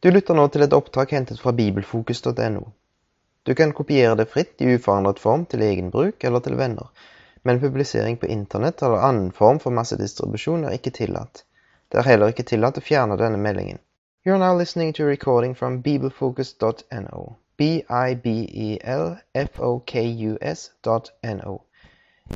Du lytter nå til et opptak hentet fra bibelfokus.no. Du kan kopiere det fritt i uforandret form til egen bruk eller til venner, men publisering på internett eller annen form for massedistribusjon er ikke tillatt. Det er heller ikke tillatt å fjerne denne meldingen. You are now listening to a recording from bibelfocus.no. E B-I-B-E-L-F-O-K-U-S dot N-O.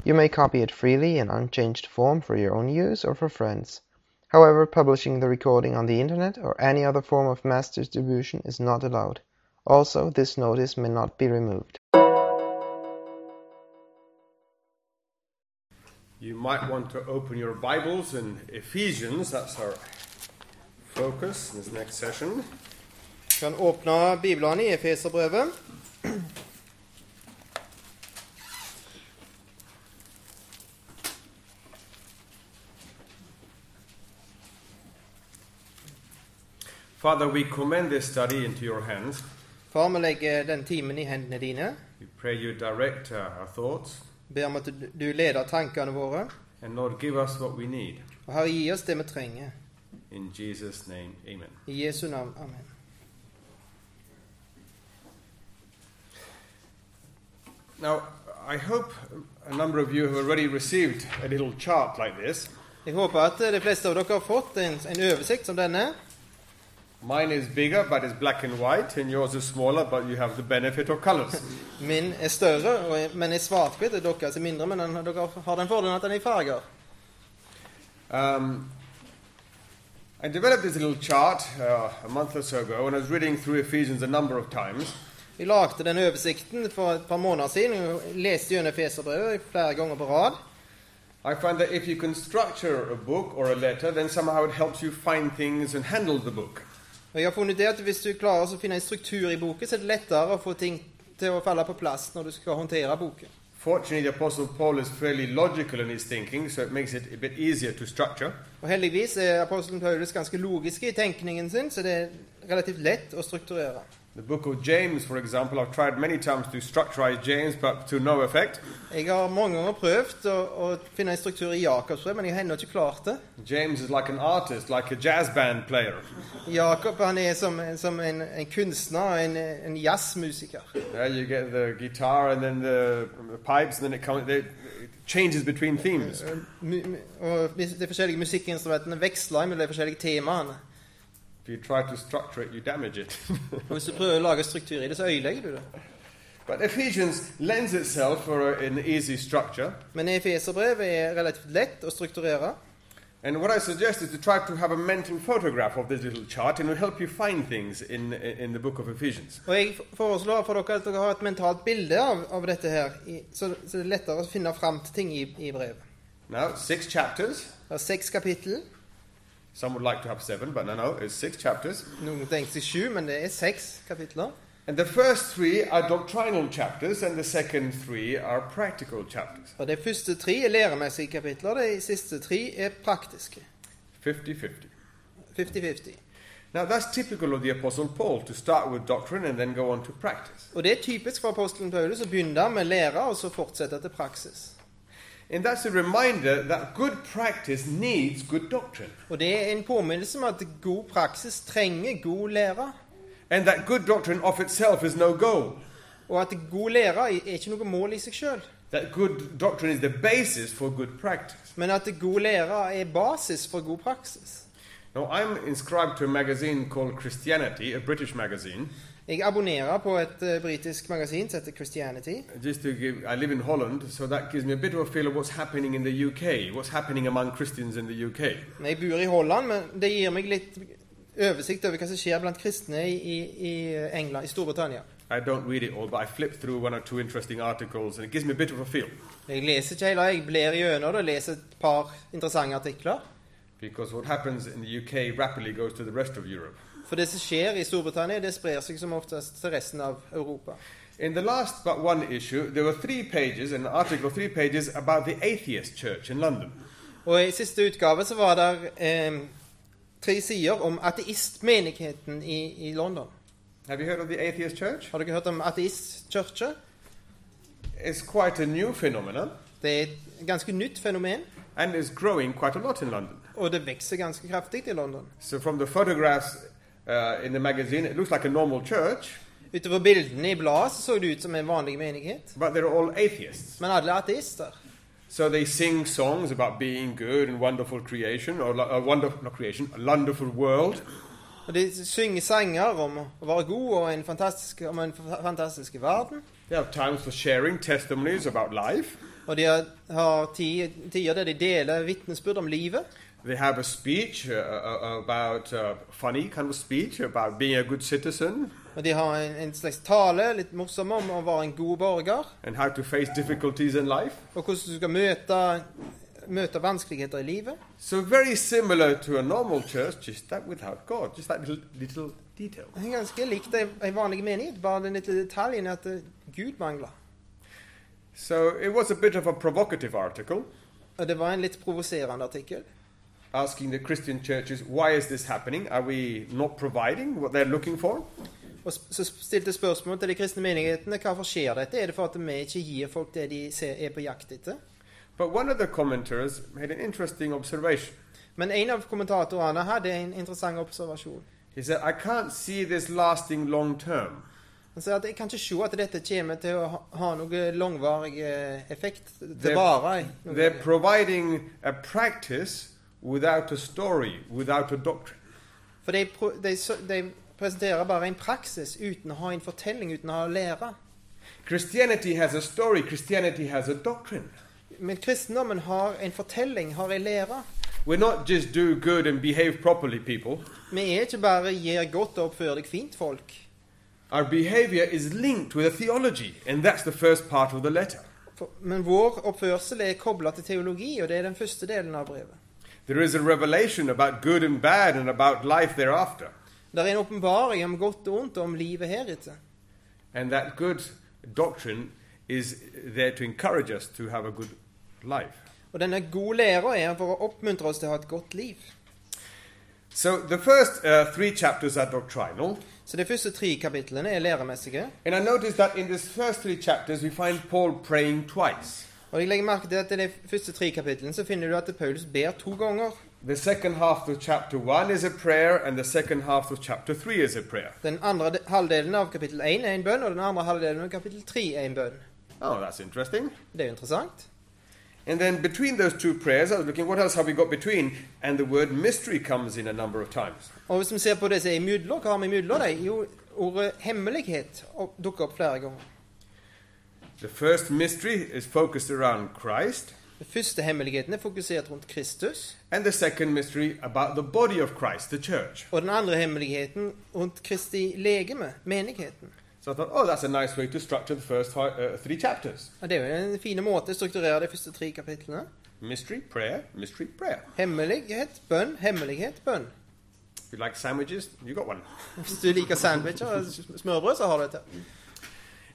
You may copy it freely in unchanged form for your own use or for friends. However, publishing the recording on the internet or any other form of mass distribution is not allowed. Also, this notice may not be removed. You might want to open your Bibles in Ephesians, that's our focus in this next session. kan åpne Bibelen i Efeserbrevet. Father, we commend this study into your hands. Far, vi legger den timen i hendene dine. We pray you direct uh, our thoughts Ber om at du- du leder tankene våre. and Lord, give us what we need. Og Herre, gi oss det vi trenger. In Jesus' name, amen. I Jesu navn. Amen. Now, I hope a number of you have already received a little chart like this. Jeg håper at de fleste av dere har fått en, en oversikt som denne. Mine is bigger, but it's black and white, and yours is smaller, but you have the benefit of colors. Min er større, og, er- men er svart-hvitt. og Deres er mindre, men den, dere har den fordelen at den er i farger. Um, I developed this little chart uh, a month or so ago, and I was reading through Ephesians a number of times. Vi lagde den oversikten for et par måneder siden. og Leste gjennom Efeserbrevet flere ganger på rad. I find that if you can structure a book or a letter, then somehow it helps you find things and handle the book. Og jeg har funnet det at Hvis du klarer å finne en struktur i boken, så er det lettere å få ting til å falle på plass når du skal håndtere boken. Fortunately, the Apostle Paul is fairly logical in his thinking, so it makes it a bit easier to structure. Og Heldigvis er apostelen Paulus ganske logisk i tenkningen sin, så det er relativt lett å strukturere. The book of James, for example, I've tried many times to structurize James, but to no effect. Jeg har mange ganger prøvd å, å finne en struktur i Jakobs brev, men jeg har ennå ikke klart det. James is like an artist, like a jazz band player. Jakob han er som, som en, en kunstner, en, en jazzmusiker. There you get the guitar and then the pipes, and then it, comes, it changes between themes. Mu- mu- Og de de forskjellige musikkinstrumentene veksler mellom de forskjellige temaene. If you try to structure it, you damage it. Og Hvis du prøver å lage struktur i det, så ødelegger du det. but Ephesians lends itself for a, an easy structure. Men Efeserbrevet er relativt lett å strukturere. And what I suggest is to try to have a mental photograph of this little chart, and it'll help you find things in, in the book of Ephesians. Og jeg foreslår for dere at dere har et mentalt bilde av, av dette her, i, så, så det er lettere å finne fram til ting i, i brevet. Now, six chapters. Det er seks kapittel. Some would like to have seven, but no, no, it's six chapters. Noen tenkte seg sju, men det er seks kapitler. And the first three are doctrinal chapters, and the second three are practical chapters. Og de første tre er læremessige kapitler, de siste tre er praktiske. 50 50. 50-50. Now, that's typical of the Apostle Paul to start with doctrine and then go on to practice. Og det er typisk for apostelen Paulus å begynne med lære og så fortsette til praksis. And that's a reminder that good practice needs good doctrine. Og det er en påminnelse om at god praksis trenger god lære. And that good doctrine of itself is no goal. Og at god lære er ikke noe mål i seg sjøl, That good doctrine is the basis for good practice. men at god lære er basis for god praksis. Now, I'm inscribed to a magazine called Christianity, a British magazine. Jeg abonnerer på et eh, britisk magasin som heter Christianity. Just to give, I live in Holland, so that gives me a bit of a feel of what's happening in the UK, what's happening among Christians in the UK. Men Jeg bor i Holland, men det gir meg litt oversikt over hva som skjer blant kristne i, i- i England, i Storbritannia. I don't read it all, but I flip through one or two interesting articles, and it gives me a bit of a feel. Jeg leser ikke hele, jeg blir gjennom det og leser et par interessante artikler. Because what happens in the UK rapidly goes to the rest of Europe. For det som skjer i Storbritannia, det sprer seg som oftest til resten av Europa. In the last but one issue, there were three pages, an article three pages, about the atheist church in London. Og i siste utgave så var det eh, tre sider om ateistmenigheten i, i London. Have you heard of the atheist church? Har dere hørt om ateistkirke? It's quite a new phenomenon, Det er et ganske nytt fenomen. and is growing quite a lot in London. Og det vokser ganske kraftig i London. So, from the photographs, uh, in the magazine. It looks like a normal church, Utover bildene i bladet så, så det ut som en vanlig menighet. but they're all atheists. Men alle er ateister. So they sing songs about being good and wonderful creation, or lo- a wonderful not creation, a wonderful world. Og de synger sanger om å være god og en fantastisk, om en fa- fantastisk verden. They have times for sharing testimonies about life. Og de har- har ti- tider der de deler vitnesbyrd om livet. They have a speech uh, uh, about uh, funny kind of speech about being a good citizen Og de har en, en slags tale, litt morsom, om å være en god borger. and how to face difficulties in life. Og hvordan du skal møte, møte vanskeligheter i livet. So very similar to a normal church, just that without God, just that little, little detail. Det er Ganske likt ei ei vanlig menighet, bare den lille detaljen at eh, Gud mangler. So it was a bit of a provocative article Og det var en litt provoserende artikkel. asking the Christian churches, why is this happening? Are we not providing what they're looking for? Og s- så stilte spørsmål til de kristne menighetene hvorfor skjer dette. Er det for at vi ikke gir folk det de ser, er på jakt etter? But one of the commenters made an interesting observation. Men en av kommentatorene hadde en interessant observasjon. He said, I can't see this lasting long term. Han sier at jeg kan ikke se at dette kommer til å ha- ha noe langvarig eh, effekt They're- til vare. i noe They're lenger. providing a practice without a story, without a doctrine. For de, pro- de, s- de presenterer bare en praksis uten å ha en fortelling, uten å ha lære. Christianity has a story, Christianity has a doctrine. Men kristendommen har en fortelling, har en lære. We're not just do good and behave properly, people. Vi er ikke bare 'gjør godt og oppfør deg fint', folk. Our behavior is linked with a theology, and that's the first part of the letter. For, men vår oppførsel er kobla til teologi, og det er den første delen av brevet. There is a revelation about good and bad and about life thereafter. Det er en åpenbaring om godt og ondt, og om livet heretter. And that good doctrine is there to encourage us to have a good life. Og denne gode læra er for å oppmuntre oss til å ha et godt liv. So the first uh, three chapters are doctrinal. Så de første tre kapitlene er læremessige. And I noticed that in these first three chapters, we find Paul praying twice. Og jeg legger merke til at i de første tre kapitlene så finner du at Paulus ber to ganger. The second half of chapter 1 is a prayer, and the second half of chapter 3 is a prayer. Den andre de- halvdelen av kapittel 1 er en bønn, og den andre halvdelen av kapittel 3 er en bønn. Oh, that's interesting. Det er jo interessant. And then between those two prayers, I was looking, what else have we got between? And the word mystery comes in a number of times. Og hvis vi ser på det som er imidler, hva har vi imidler? Det er jo ordet hemmelighet opp- dukker opp flere ganger. The first mystery is focused around Christ, Den første hemmeligheten er fokusert rundt Kristus, and the second mystery about the body of Christ, the church. og den andre hemmeligheten rundt Kristi legeme, menigheten. So I thought, oh, that's a nice way to structure the first hi- uh, three chapters Og det er jo en fin måte å strukturere de første tre kapitlene. mystery, prayer, mystery, prayer. Hemmelighet, bønn, hemmelighet, bønn. If you like sandwiches, you got one. Hvis du liker sandwicher og smørbrød, så har du dette.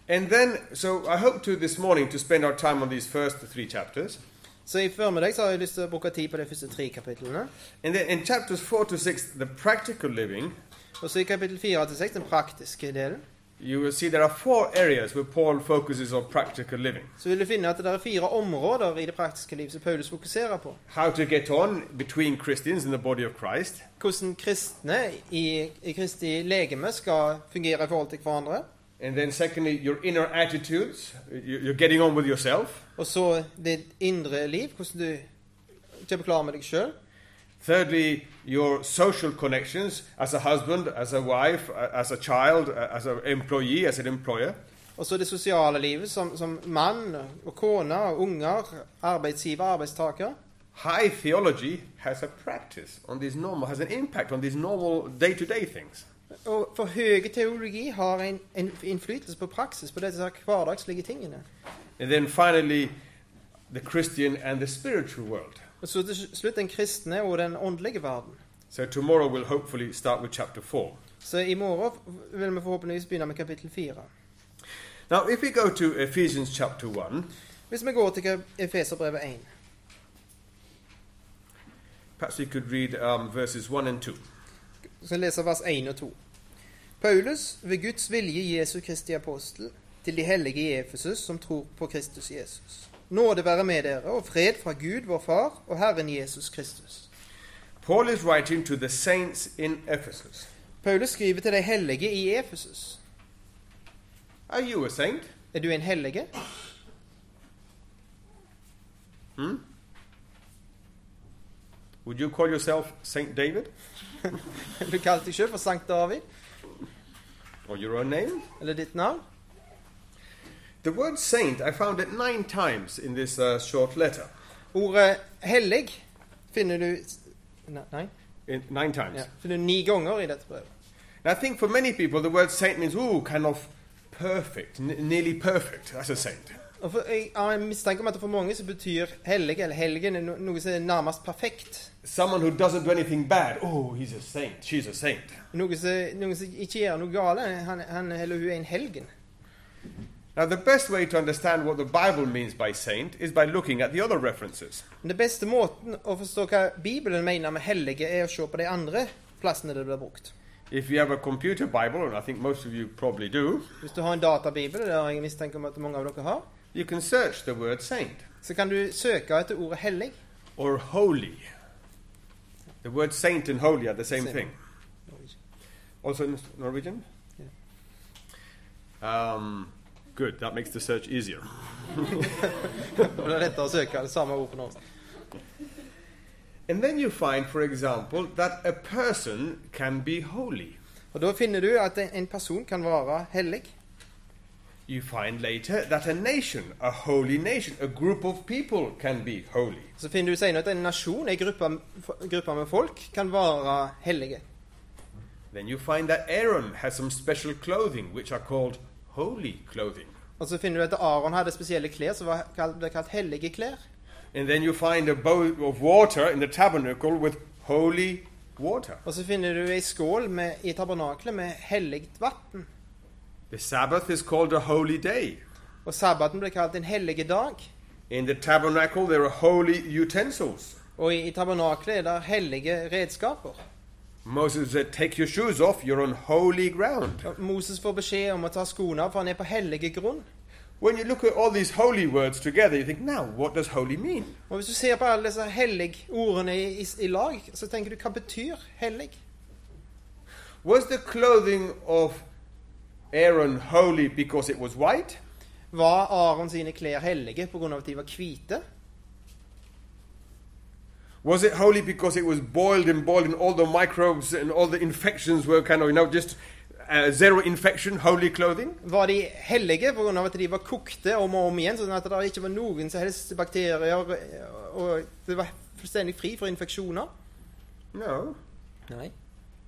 And then, so I hope to this morning to spend our time on these first three chapters. Så i formiddag så har jeg lyst til å bruke tid på de første tre kapitlene. And then in chapters four to six, the practical living, Og så i kapittel 4 til 6, den praktiske delen, you will see there are four areas where Paul focuses on practical living. så vil du finne at det er fire områder i det praktiske liv som Paulus fokuserer på. How to get on between Christians in the body of Christ, Hvordan kristne i, i Kristi legeme skal fungere i forhold til hverandre. and then secondly, your inner attitudes, you- you're getting on with yourself. Og så ditt indre liv, hvordan du kommer klar med deg sjøl. Thirdly, your social connections as a husband, as a wife, uh, as a child, uh, as an employee, as an employer. Og så det sosiale livet som, som mann og kone og unger, arbeidsgiver, arbeidstaker. High theology has a practice on these normal, has an impact on these normal day to day things. Og for høy teologi har en, en innflytelse på praksis, på disse her hverdagslige tingene. And then finally, the Christian and the spiritual world. Og så til slutt den kristne og den åndelige verden. So tomorrow we'll hopefully start with chapter 4. Så i morgen vil vi forhåpentligvis begynne med kapittel 4. Now, if we go to Ephesians chapter 1, Hvis vi går til kap- Efeserbrevet 1, perhaps we could read um, verses 1 and 2. så skal vi lese vers 1 og 2. Paulus, ved Guds vilje Jesu Kristi apostel, til de hellige i Efesus som tror på Kristus Jesus. Nåde være med dere, og fred fra Gud, vår Far, og Herren Jesus Kristus. Paul is writing to the saints in Ephesus. Paulus skriver til de hellige i Efesus. Are you a saint? Er du en hellige? Would you call yourself Saint David? Du kalte deg selv for Sankt David, Or your own name? eller ditt navn. The word saint, I found it nine times in this uh, short letter. Ordet hellig finner du Nei, nei In, nine times. ja, finner du ni ganger i dette brevet. And I think for many people, the word saint means, ooh, kind of perfect, n- nearly perfect. That's a saint. Og for, jeg har en mistanke om at for mange så betyr hellig eller helgen er no- noe som er nærmest perfekt. Someone who doesn't do anything bad, oh, he's a saint, she's a saint. Noe som, noen som ikke gjør noe gale. Han, han eller hun er en helgen. Now, the best way to understand what the Bible means by saint is by looking at the other references. Men den beste måten å forstå hva Bibelen mener med hellige, er å se på de andre plassene det blir brukt. If you have a computer Bible, and I think most of you probably do, Hvis du har en databibel, og det har jeg mistanke om at mange av dere har, you can search the word saint så kan du søke etter ordet hellig. or holy. The word saint and holy are the same Same. thing. Also in Norwegian? Yeah. Um, good, that makes the search easier. Og det er lettere å søke det samme ordet på norsk. And then you find, for example, that a person can be holy. Og da finner du at en person kan være hellig. You find later that a nation, a holy nation, a group of people can be holy. Så finner du senere at en nasjon, en gruppe, gruppe med folk, kan være hellige. Then you find that Aaron has some special clothing which are called holy clothing. Og så finner du at Aron hadde spesielle klær som var kalt- ble kalt hellige klær. And then you find a bowl of water in the tabernacle with holy water. Og så finner du ei skål med, i tabernaklet med hellig vann. The Sabbath is called a holy day. Og sabbaten ble kalt en hellige dag. In the tabernacle there are holy utensils. Og i, i tabernaklet er det hellige redskaper. Moses said, Take your shoes off, you're on holy ground. Og Moses får beskjed om å ta skoene av, for han er på hellige grunn. When you look at all these holy words together, you think, now what does holy mean? Og hvis du ser på alle disse hellig-ordene i, i, i lag, så tenker du hva betyr hellig? Was the clothing of Aaron holy because it was white? Var Aron sine klær hellige pga. at de var hvite? Was it holy because it was boiled and boiled and all the microbes and all the infections were kind of, you know, just uh, zero infection, holy clothing? Var de hellige pga. at de var kokte om og om igjen, sånn at det ikke var noen som helst bakterier, og det var fullstendig fri for infeksjoner? No. Nei.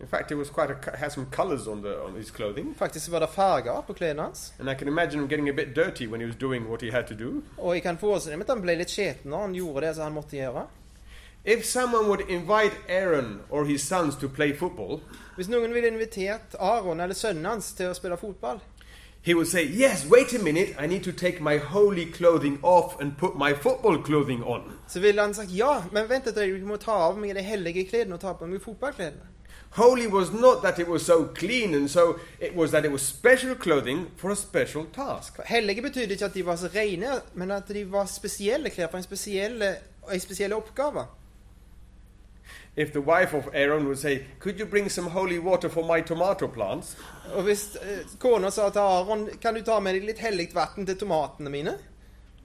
In fact, it was quite a, co- had some colors on, the, on his clothing. Faktisk var det farger på klærne hans. And I can imagine him getting a bit dirty when he was doing what he had to do. Og jeg kan forestille meg at han ble litt skjeten når han gjorde det som han måtte gjøre. If someone would invite Aaron or his sons to play football, Hvis noen ville invitert Aron eller sønnen hans til å spille fotball, he would say, Yes, wait a minute, I need to take my holy clothing off and put my football clothing on. så ville han sagt ja, men vent et øyeblikk, jeg må ta av meg de hellige klærne og ta på meg fotballklærne. Holy was not that it was so clean and so, it was that it was special clothing for a special task. For Hellige betydde ikke at de var så rene, men at de var spesielle klær for en spesiell, en spesiell oppgave. If the wife of Aaron would say, Could you bring some holy water for my tomato plants? Og hvis eh, kona sa til Aron kan du ta med deg litt hellig vann til tomatene mine,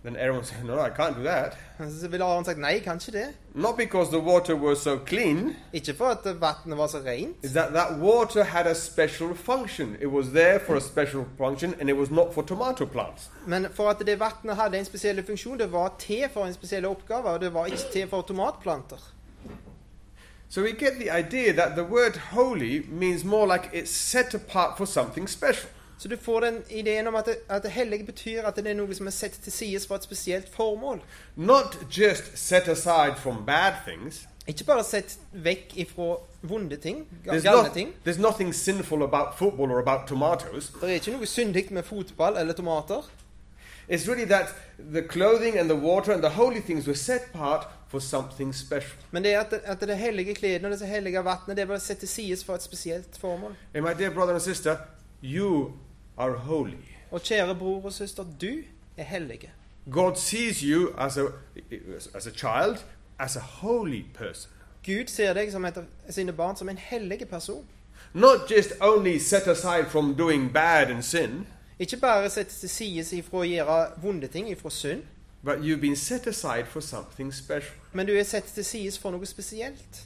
Then Aaron would say, No, I can't do that. så ville Aron sagt nei, kan ikke det. Not because the water was so clean, Ikke for at vannet var så rent, is that that water had a special function. It was there for a special function and it was not for tomato plants. men for at det vannet hadde en spesiell funksjon. Det var til for en spesiell oppgave, og det var ikke til for tomatplanter. So we get the idea that the word holy means more like it's set apart for something special. Så du får den ideen om at, det, at det hellig betyr at det er noe som er sett til side for et spesielt formål. Not just set aside from bad things. Ikke bare sett vekk ifra vonde ting, ga- There's, gamle not- ting. there's nothing sinful about football or about tomatoes. Det er ikke noe syndig med fotball eller tomater. It's really that the clothing and the water and the holy things were set apart for something special. Men det er at det, at det hellige klærne og disse hellige vannet det er bare sett til side for et spesielt formål. And my dear brother and sister, you are holy. Og kjære bror og søster, du er hellige. God sees you as a, as a child, as a holy person. Gud ser deg som et av sine barn som en hellig person. not just only set aside from doing bad and sin, Ikke bare settes til sides ifra å gjøre vonde ting, ifra synd, but you've been set aside for something special. men du er satt til sides for noe spesielt.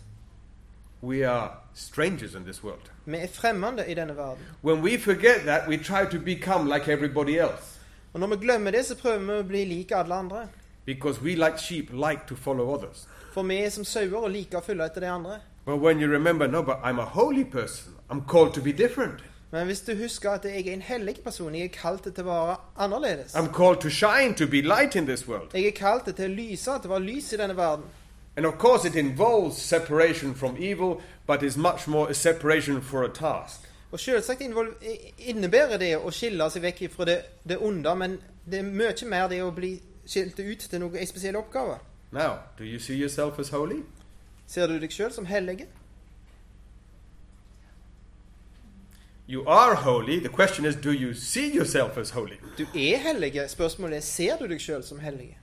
We are strangers in this world. Vi er fremmede i denne verden. When we forget that, we try to become like everybody else Og når vi glemmer det, så prøver vi å bli like alle andre. because we, like sheep, like to follow others. For vi er som sauer og liker å følge etter de andre. But when you remember, no, but I'm a holy person, I'm called to be different, Men hvis du husker at jeg er en hellig person, jeg er kalt til å være annerledes. I'm called to shine, to be light in this world. Jeg er kalt til å lyse, at det var lys i denne verden. And of course, it involves separation from evil, but is much more a separation for a task. Og selvsagt invol- i- innebærer det å skille seg vekk fra det, det onde, men det er mye mer det å bli skilt ut til noe, en spesiell oppgave. Now, do you see yourself as holy? Ser du deg sjøl som hellig? You are holy. The question is, do you see yourself as holy? Du er hellig. Spørsmålet er ser du deg sjøl som hellig.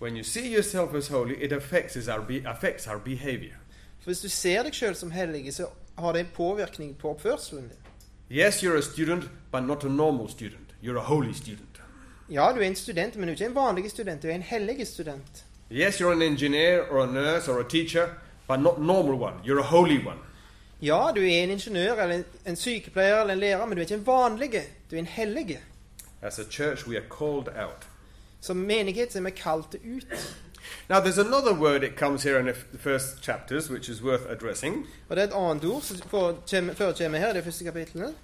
When you see yourself as holy, it affects is our, be- affects our behavior. For hvis du ser deg sjøl som hellig, så har det en påvirkning på oppførselen din. Yes, you're a student, but not a normal student. You're a holy student. Ja, du er en student, men du er ikke en vanlig student. Du er en hellig student. Yes, you're an engineer or a nurse or a teacher, but not normal one. You're a holy one. Ja, du er en ingeniør eller en, en sykepleier eller en lærer, men du er ikke en vanlig. Du er en hellig. As a church, we are called out. Som menighet så er vi kalt ut. Now, there's another word that comes here in the f- the first chapters, which is worth addressing. Og det er et annet ord som forekjem- forekjemmer her i det første kapitlet,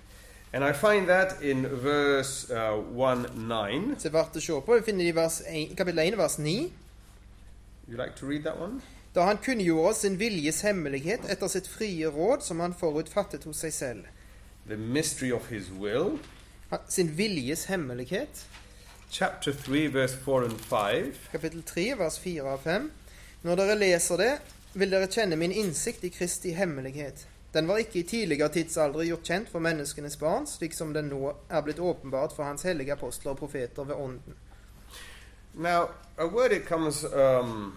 And I find that in verse uh, 1 9. som er verdt å se på. Vi finner det i vers 1, kapittel 1, vers 9. You like to read that one? Da han kunngjorde sin viljes hemmelighet etter sitt frie råd som han forut fattet hos seg selv. The mystery of his will. Han- Sin viljes hemmelighet. Chapter 3, verse 4 and 5. Kapittel 3, vers 4 av 5. Når dere leser det, vil dere kjenne min innsikt i Kristi hemmelighet. Den var ikke i tidligere tidsalder gjort kjent for menneskenes barn, slik som den nå er blitt åpenbart for hans hellige apostler og profeter ved Ånden. Now, a word it comes, um,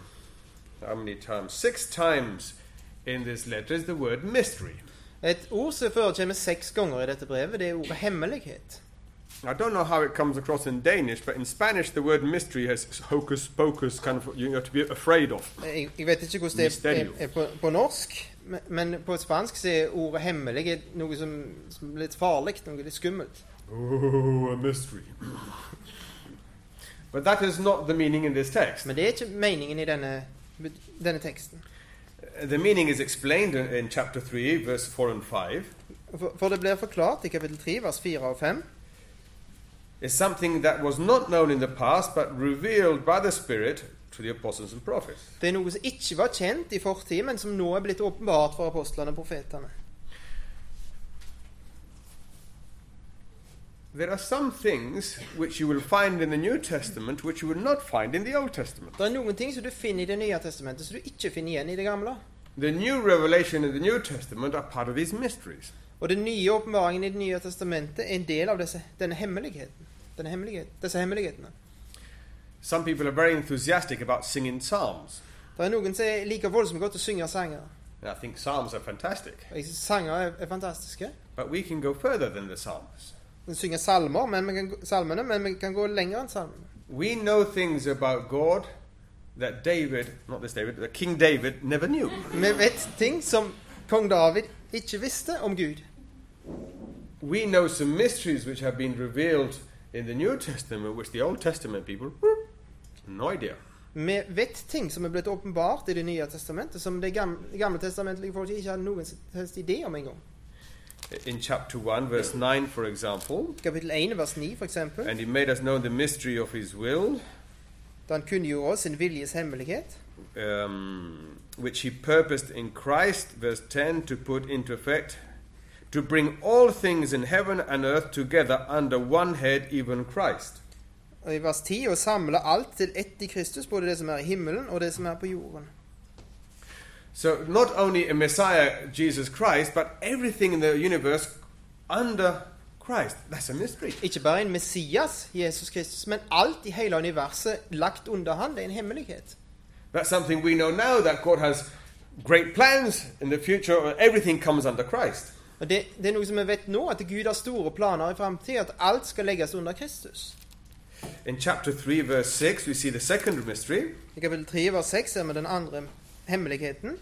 how many times? Six times in this letter is the word mystery. Et ord som forekommer seks ganger i dette brevet, det er ordet hemmelighet. I don't know how it comes across in Danish, but in Spanish, the word mystery has hocus pocus, kind of you have to be afraid of. Jeg, jeg vet ikke hvordan det er, Mysterio. er, er på, på norsk, men- men på spansk så er ordet hemmelig noe som, som er litt farlig, noe litt skummelt. Oh, a mystery. but that is not the meaning in this text. Men det er ikke meningen i denne, denne teksten. The meaning is explained in, in chapter 3, verse 4 and 5. For, for det blir forklart i kapittel 3, vers 4 og 5. It's something that was not known in the past, but revealed by the Spirit to the apostles and prophets. Det er noe som ikke var kjent i fortid, men som nå er blitt åpenbart for apostlene og profetene. There are some things which you will find in the New Testament which you will not find in the Old Testament. Det er noen ting som du finner i Det nye testamentet, som du ikke finner igjen i det gamle. The new revelation in the New Testament are part of these mysteries. Og den nye åpenbaringen i Det nye testamentet er en del av disse, denne hemmeligheten. Denne hemmelighet, disse hemmelighetene. Some people are very enthusiastic about singing psalms. Det er noen som er like voldsomt godt til å synge sanger. And I think psalms are fantastic. Og jeg synes Sanger er, er fantastiske. But we can go further than the psalms. Vi synger salmer, men vi kan, gå- salmene, men vi kan gå lenger enn salmene. We know things about God that David, not this David, that King David never knew. Vi vet ting som kong David ikke visste om Gud. We know some mysteries which have been revealed in the New Testament, which the Old Testament people, whoop, no idea. Vi vet ting som er blitt åpenbart i Det nye testamentet, som det gamle, gamle testamentlige folk ikke hadde noen som helst idé om engang. In chapter 1, verse 9, for example, Kapittel 1, vers 9, for eksempel. and he made us know the mystery of his will, Da han kunngjorde oss sin viljes hemmelighet. um, which he purposed in Christ, verse 10, to put into effect, to bring all things in heaven and earth together under one head, even Christ. Og I vers 10 å samle alt til ett i Kristus, både det som er i himmelen og det som er på jorden. So, not only a Messiah, Jesus Christ, but everything in the universe under Christ. That's a mystery. Ikke bare en Messias, Jesus Kristus, men alt i hele universet lagt under han. Det er en hemmelighet. That's something we know now that God has great plans in the future, where everything comes under Christ. Og det, det er noe som vi vet nå, at Gud har store planer i framtida, at alt skal legges under Kristus. In chapter 3, verse 6, we see the second mystery. I kapittel 3 vers 6 ser vi den andre hemmeligheten.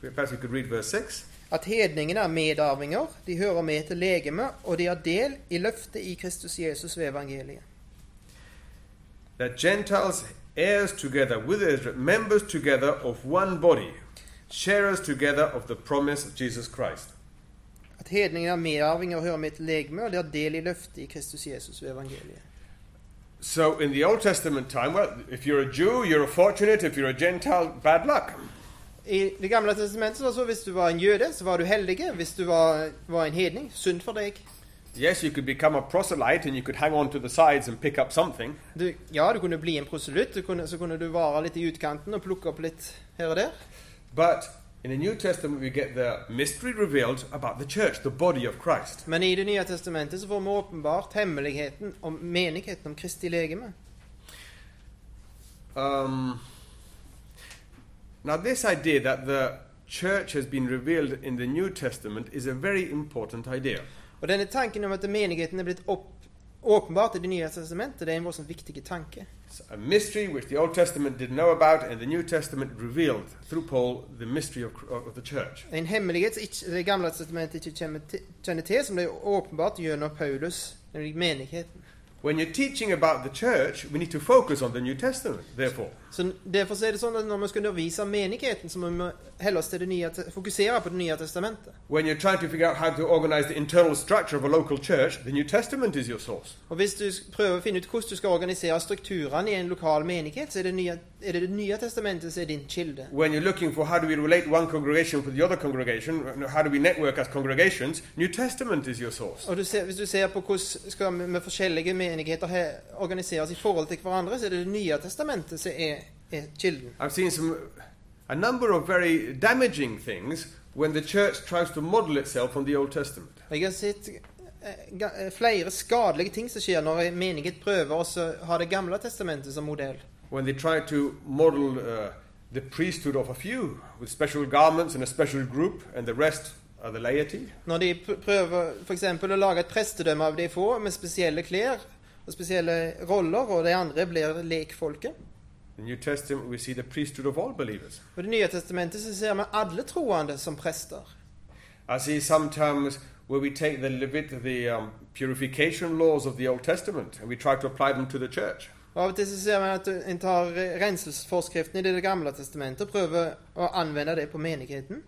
Perhaps we could read verse 6. At hedningene er medarvinger, de hører med til legeme, og de har del i løftet i Kristus Jesus ved evangeliet. That Gentiles, heirs together with Israel, members together of one body, sharers together of the promise of Jesus Christ. At hedningene er medarvinger, hører med til legeme, og de har del i løftet i Kristus Jesus ved evangeliet. So in the Old Testament time, well, if you're a Jew, you're fortunate. If you're a Gentile, bad luck. I Det gamle testamentet var så hvis du var en jøde, så var du heldig. Hvis du var, var en hedning, synd for deg. Yes, you could become a proselyte and you could hang on to the sides and pick up something, Du, ja, du kunne bli en proselytt, du kunne- så kunne du vare litt i utkanten og plukke opp litt her og der. but in the New Testament we get the mystery revealed about the church, the body of Christ. Men i Det nye testamentet så får vi åpenbart hemmeligheten om menigheten om Kristi legeme. Um, now, this idea that the church has been revealed in the New Testament is a very important idea. Og denne tanken om at menigheten er blitt opp, åpenbart i Det nye testamentet, det er en voldsomt viktig tanke. It's a mystery which the Old Testament didn't know about, and the New Testament revealed through Paul the mystery of, of the church. En hemmelighet som ikke, Det gamle testamentet ikke kjenner til, kjenner til, som ble åpenbart gjennom Paulus, nemlig menigheten. When you're teaching about the church, we need to focus on the New Testament, therefore. Så Derfor så er det sånn at når vi skal undervise om menigheten, så må vi heller oss til det nye, te- fokusere på Det nye testamentet. When you're trying to figure out how to organize the internal structure of a local church, the New Testament is your source. Og Hvis du sk- prøver å finne ut hvordan du skal organisere strukturene i en lokal menighet, så er det nye, er det, det nye testamentet som er din kilde. When you're looking for how do we relate one congregation with the other congregation, how do we network as congregations, New Testament is your source. Og du ser, Hvis du ser på hvordan skal vi med forskjellige menigheter he- organiseres i forhold til hverandre, så er det Det nye testamentet som er, er kilden. I've seen some, a number of very damaging things when the church tries to model itself on the Old Testament. Og Jeg har sett eh, ga- eh, flere skadelige ting som skjer når en menighet prøver også å ha Det gamle testamentet som modell. When they try to model uh, the priesthood of a few with special garments and a special group, and the rest are the laity. Når de pr- prøver f.eks. å lage et prestedømme av de få med spesielle klær og spesielle roller, og de andre blir lekfolket. In the New Testament, we see the priesthood of all believers. Og I Det nye testamentet så ser vi alle troende som prester. I see sometimes where we take the Levit, the um, purification laws of the Old Testament, and we try to apply them to the church. Og Av og til så ser vi at en tar renselsesforskriftene i Det gamle testamentet og prøver å anvende det på menigheten.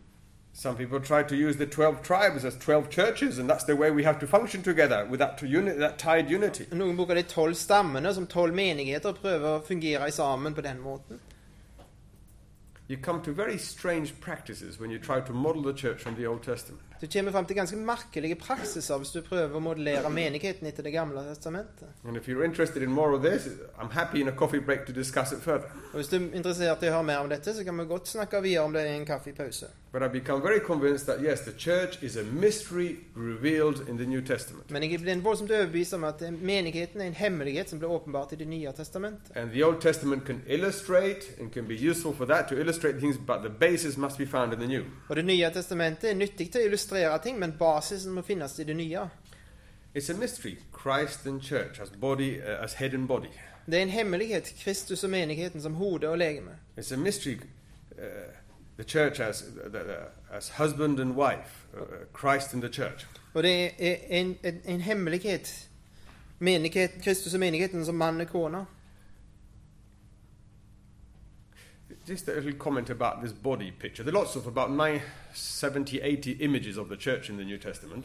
Some people try to use the 12 tribes as 12 churches, and that's the way we have to function together with that, to uni- that tied unity. Noen bruker de tolv stammene som tolv menigheter og prøver å fungere sammen på den måten. You come to very strange practices when you try to model the church from the Old Testament. Du kommer fram til ganske merkelige praksiser hvis du prøver å modellere menigheten etter Det gamle testamentet. And if you're interested in more of this, I'm happy in a coffee break to discuss it further. Og Hvis du er interessert i å høre mer om dette, så kan vi godt snakke videre om det i en kaffepause. But I've become very convinced that yes, the church is a mystery revealed in the New Testament. Men jeg blir voldsomt overbevist om at menigheten er en hemmelighet som ble åpenbart i Det nye testamentet. And the Old Testament can illustrate and can be useful for that to illustrate things, but the basis must be found in the New. Og Det nye testamentet er nyttig til å illustrere ting, men basisen må finnes i det nye. It's a mystery, Christ and church as body, uh, as head and body. Det er en hemmelighet, Kristus og menigheten som hode og legeme. It's a mystery. Uh, the church as, the, the, as husband and wife, uh, Christ and the church. Og det er en, en, en hemmelighet, menigheten, Kristus og menigheten som mann og kone. Just a little comment about this body picture. There are lots of about nine, 70, 80 images of the church in the New Testament.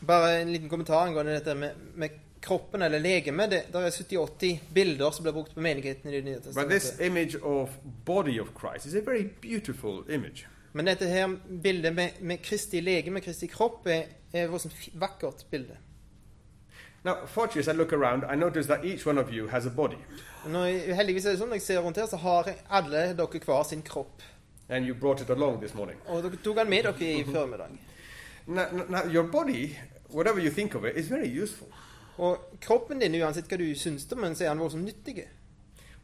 Bare en liten kommentar angående dette med, med kroppen eller legeme. Det der er 70-80 bilder som blir brukt på menigheten i Det nye But this testamentet. image of body of Christ is a very beautiful image. Men dette her bildet med, med Kristi legeme, Kristi kropp, er, er et sånt vakkert bilde. Now, fortunately, as I look around, I notice that each one of you has a body. Nå, heldigvis er det sånn når jeg ser rundt her, så har alle dere hver sin kropp. And you brought it along this morning. Og dere tok han med dere i formiddag. Now, now your body, whatever you think of it, is very useful. Og kroppen din, uansett hva du syns om den, så er den voldsomt nyttig.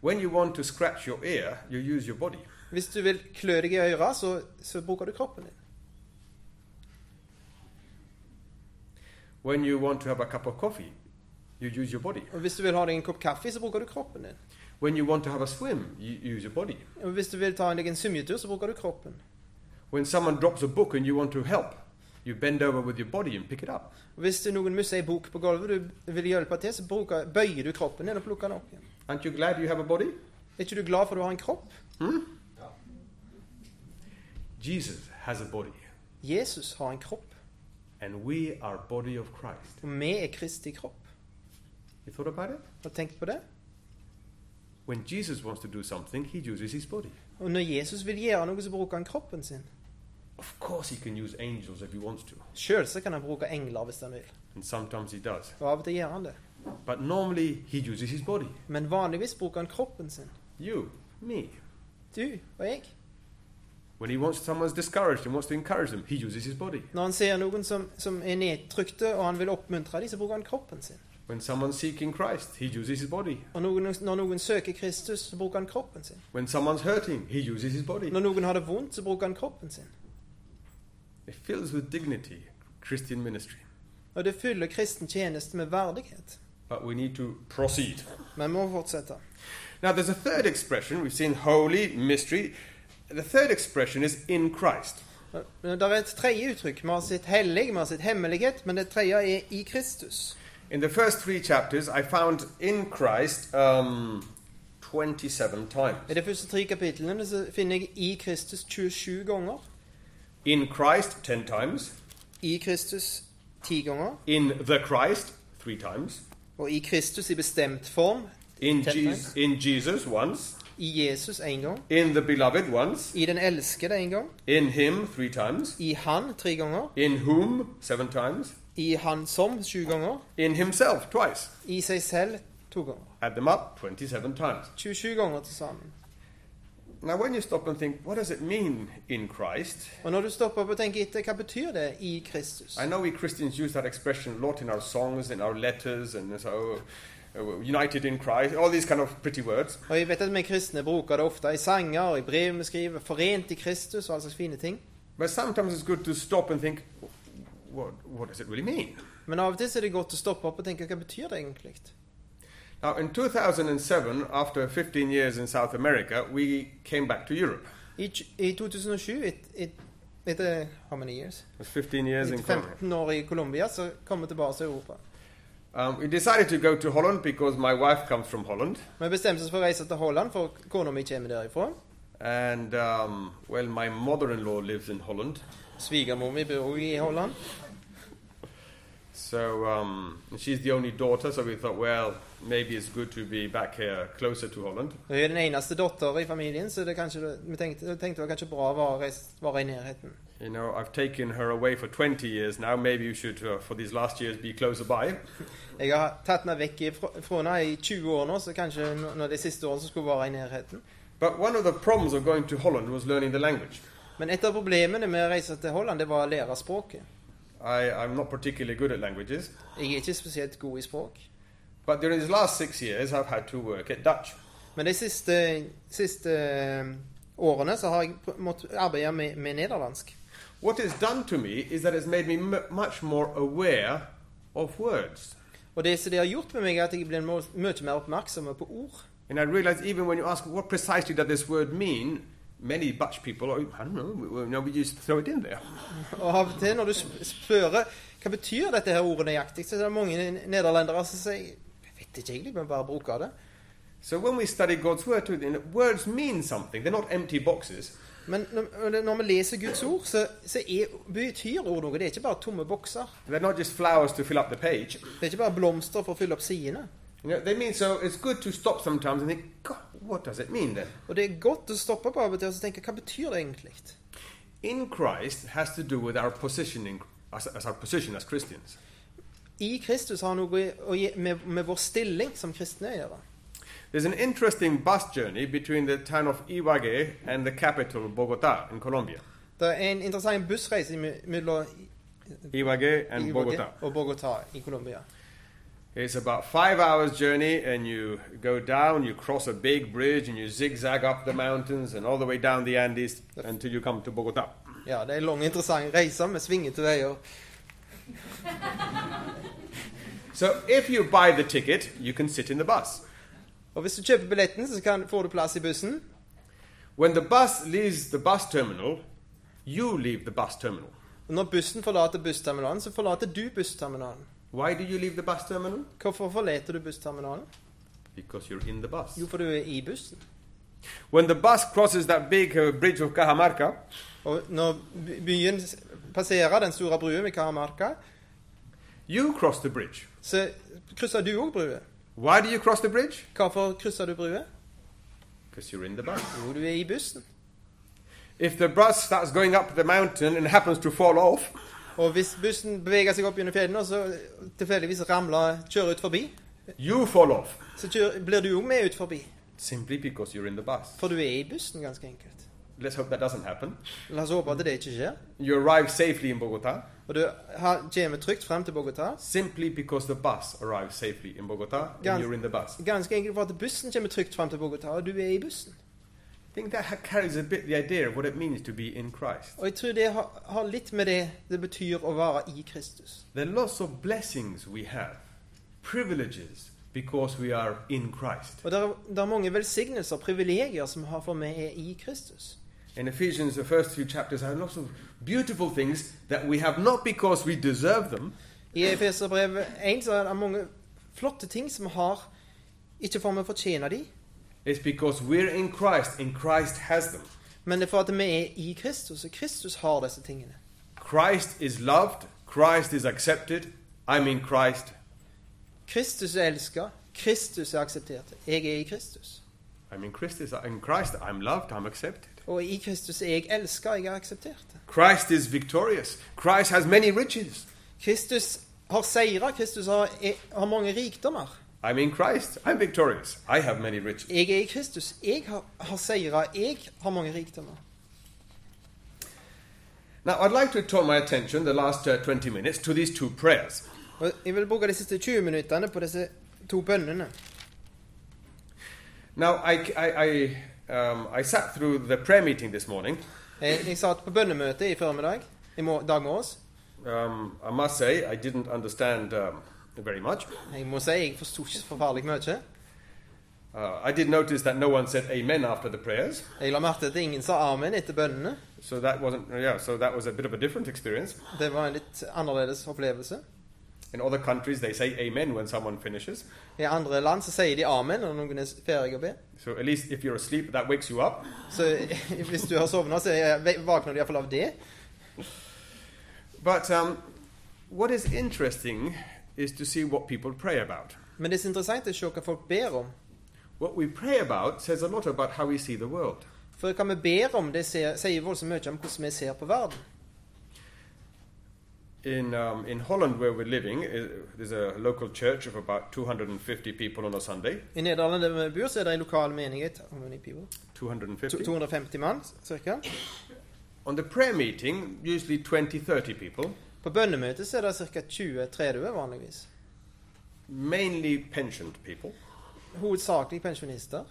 When you want to scratch your ear, you use your body. Hvis du vil klø deg i øret, så, så bruker du kroppen din. When you want to have a cup of coffee, you use your body. Og hvis du vil ha deg en kopp kaffe, så bruker du kroppen din. When you want to have a swim, you use your body. Og hvis du vil ta deg en svømmetur, så bruker du kroppen. When someone drops a book and you want to help, you bend over with your body and pick it up. Og hvis det er noen musser i bok på gulvet du vil hjelpe til, så bruker, bøyer du kroppen din og plukker den opp igjen. Aren't you glad you have a body? Er ikke du glad for at du har en kropp? Jesus has a body, Jesus har en kropp, and we are body of Christ. og vi er Kristi kropp. You thought about it? Har du tenkt på det? When Jesus wants to do something, he uses his body. Og når Jesus vil gjøre noe, så bruker han kroppen sin. Of course, he can use angels if he wants to, Sjøl så kan han bruke engler hvis han vil, and sometimes he does. og av og til gjør han det. But normally, he uses his body. Men vanligvis bruker han kroppen sin. You, me. Du og jeg. When he wants someone's discouraged and wants to encourage them, he uses his body. Når han ser noen som, som er nedtrykte, og han vil oppmuntre dem, så bruker han kroppen sin. When someone's seeking Christ, he uses his body. Og noen, når noen søker Kristus, så bruker han kroppen sin. When someone's hurting, he uses his body. Når noen har det vondt, så bruker han kroppen sin. It fills with dignity Christian ministry. Og det fyller kristen tjeneste med verdighet. But we need to proceed. Men vi må fortsette. Now, there's a third expression. We've seen holy, mystery. The third expression is in Christ. Det er et tredje uttrykk. Vi har sitt hellig, vi har sitt hemmelighet, men det tredje er i Kristus. In the first three chapters, I found in Christ um, 27 times. I de første tre kapitlene så finner jeg i Kristus 27 ganger. In Christ, 10 times. I Kristus 10 ganger. In the Christ, 3 times. Og i Kristus i bestemt form. In, 10 Jesus, times. in Jesus, once. I Jesus én gang. In the Beloved, once. I den elskede én gang. In Him, 3 times. I han tre ganger. In whom, 7 times. I han som sju ganger. In Himself, twice. I seg selv to ganger. Add them up, 27 times. 27 ganger til sammen. Now, when you stop and think, what does it mean in Christ? Og når du stopper opp og tenker etter, hva betyr det i Kristus? I know we Christians use that expression a lot in our songs, in our letters, and so uh, united in Christ, all these kind of pretty words. Og jeg vet at vi kristne bruker det ofte i sanger, i brev vi skriver, forent i Kristus og all slags fine ting. But sometimes it's good to stop and think, what, what does it really mean? Men av og til så er det godt å stoppe opp og tenke hva betyr det egentlig? Now, in 2007, after 15 years in South America, we came back to Europe. I, tj- i 2007, et, et, etter how many years? It was 15 years in Etter Colombia. 15 år i Colombia, så kom vi tilbake til Europa. Um, we decided to go to Holland because my wife comes from Holland. Vi bestemte oss for å reise til Holland, for kona mi kommer derifra. And, um, well, my mother in law lives in Holland. Svigermor mi bor også i Holland. So um, she's the only daughter, so we thought, well, maybe it's good to be back here closer to Holland. Hun er den eneste datter i familien, så det kanskje, vi tenkte, tenkte det var kanskje bra å være, reist- være i nærheten. You know, I've taken her away for 20 years now. Maybe you should, uh, for these last years, be closer by. Jeg har tatt henne vekk ifra fra henne i 20 år nå, så kanskje nå- nå de siste årene så skulle hun være i nærheten. But one of the problems of going to Holland was learning the language. Men et av problemene med å reise til Holland, det var å lære språket. I, I'm not particularly good at languages. Jeg er ikke spesielt god i språk. But during these last six years, I've had to work at Dutch. Men de siste, siste eh, årene så har jeg pr- måttet arbeide med, med nederlandsk. What it's done to me is that it's made me m- much more aware of words. Og det som det har gjort med meg, er at jeg blir må- mye mer oppmerksom på ord. And I realize even when you ask what precisely does this word mean, many Dutch people, are, I don't know, we, we, no, we just throw it in there. Og av og til når du sp- spør hva betyr dette her ordet nøyaktig, så er det mange n- nederlendere som sier jeg vet ikke egentlig, men bare bruker det. So when we study God's word, too, then words mean something. They're not empty boxes. Men når, når vi leser Guds ord, så, så er, betyr ord noe. Det er ikke bare tomme bokser. They're not just flowers to fill up the page. Det er ikke bare blomster for å fylle opp sidene. You know, they mean so. It's good to stop sometimes and think, God, what does it mean then? Og det er godt å stoppe på av og til og så tenke hva betyr det egentlig? In Christ has to do with our position in, as, as our position as Christians. I Kristus har noe å gi med, med vår stilling som kristne å gjøre. There's an interesting bus journey between the town of Iwague and the capital Bogota in Colombia. Det er en interessant bussreise me- mellom Iwague and Iwague Bogota. og Bogotá i Colombia. It's about five hours journey, and you go down, you cross a big bridge, and you zigzag up the mountains and all the way down the Andes until you come to Bogota. Ja, det er en lang, interessant reise med svingete veier. So if you buy the ticket, you can sit in the bus. Og hvis du kjøper billetten, så kan, får du plass i bussen. When the bus leaves the bus terminal, you leave the bus terminal. Og når bussen forlater bussterminalen, så forlater du bussterminalen. Why do you leave the bus terminal? Hvorfor forlater du bussterminalen? Because you're in the bus. Jo, for du er i bussen. When the bus crosses that big uh, bridge of Cajamarca, Og når by- byen s- passerer den store brua ved Karamarka, you cross the bridge. så krysser du òg brua. Why do you cross the bridge? Hvorfor krysser du brua? Because you're in the bus. Jo, du er i bussen. If the bus starts going up the mountain and happens to fall off, Og hvis bussen beveger seg opp gjennom fjellene, og så tilfeldigvis ramler kjører ut forbi, you fall off. så kjører, blir du òg med ut forbi. Simply because you're in the bus. For du er i bussen, ganske enkelt. Let's hope that doesn't happen. La oss håpe at det ikke skjer. You arrive safely in Bogota Og du har, kommer trygt frem til Bogotá. simply because the bus arrives safely in Bogota and Guys. you're in the bus. Ganske enkelt for at bussen kommer trygt frem til Bogotá, og du er i bussen. I think that ha- carries a bit the idea of what it means to be in Christ. Og jeg tror det har, har litt med det det betyr å være i Kristus. There are lots of blessings we have, privileges, because we are in Christ. Og det er, det er mange velsignelser, privilegier, som har for meg er i Kristus. In Ephesians, the first few chapters have lots of beautiful things that we have not because we deserve them, I Efeserbrevet 1 så er det mange flotte ting som har ikke for meg fortjener de, it's because we're in Christ and Christ has them. men det er for at vi er i Kristus, og Kristus har disse tingene. Christ is loved, Christ is accepted, I'm in Christ, Kristus er elsket, Kristus er akseptert. Jeg er i Kristus. I'm in Christ, in Christ, I'm loved, I'm accepted. Og i Kristus er jeg elsket, jeg er akseptert. Christ is victorious, Christ has many riches, Kristus har seiret, Kristus har, er, har mange rikdommer. I'm in Christ, I'm victorious, I have many riches. Jeg er i Kristus, jeg har, har seiret, jeg har mange rikdommer. Now, I'd like to turn my attention the last uh, 20 minutes to these two prayers. Og jeg vil bruke de siste 20 minuttene på disse to bønnene. Now, I, I, I, um, I sat through the prayer meeting this morning. Jeg, jeg satt på bønnemøte i formiddag, i må, dag morges. Um, I must say, I didn't understand um, very much. Jeg må si jeg forsto ikke forferdelig mye. Uh, I did notice that no one said amen after the prayers, Jeg la merke til at ingen sa amen etter bønnene. so that wasn't uh, yeah. So that was a bit of a different experience. Det var en litt annerledes opplevelse. In other countries, they say amen when someone finishes. I andre land så sier de amen når noen er ferdig å be. So at least if you're asleep, that wakes you up. Så hvis du har sovna, så er- våkner du iallfall av det. But um, what is interesting is to see what people pray about. Men det som er interessant, er å se hva folk ber om. What we pray about says a lot about how we see the world. For hva vi ber om, det ser, sier voldsomt mye om hvordan vi ser på verden. In, um, in Holland, where we're living, uh, there's a local church of about 250 people on a Sunday. I Nederland, der vi bor, så er det en lokal menighet how many people? 250. To- 250 mann, cirka. On the prayer meeting, usually 20, 30 people, På bønnemøtet så er det ca. 20-30 vanligvis. mainly pensioned people. Hovedsakelig pensjonister.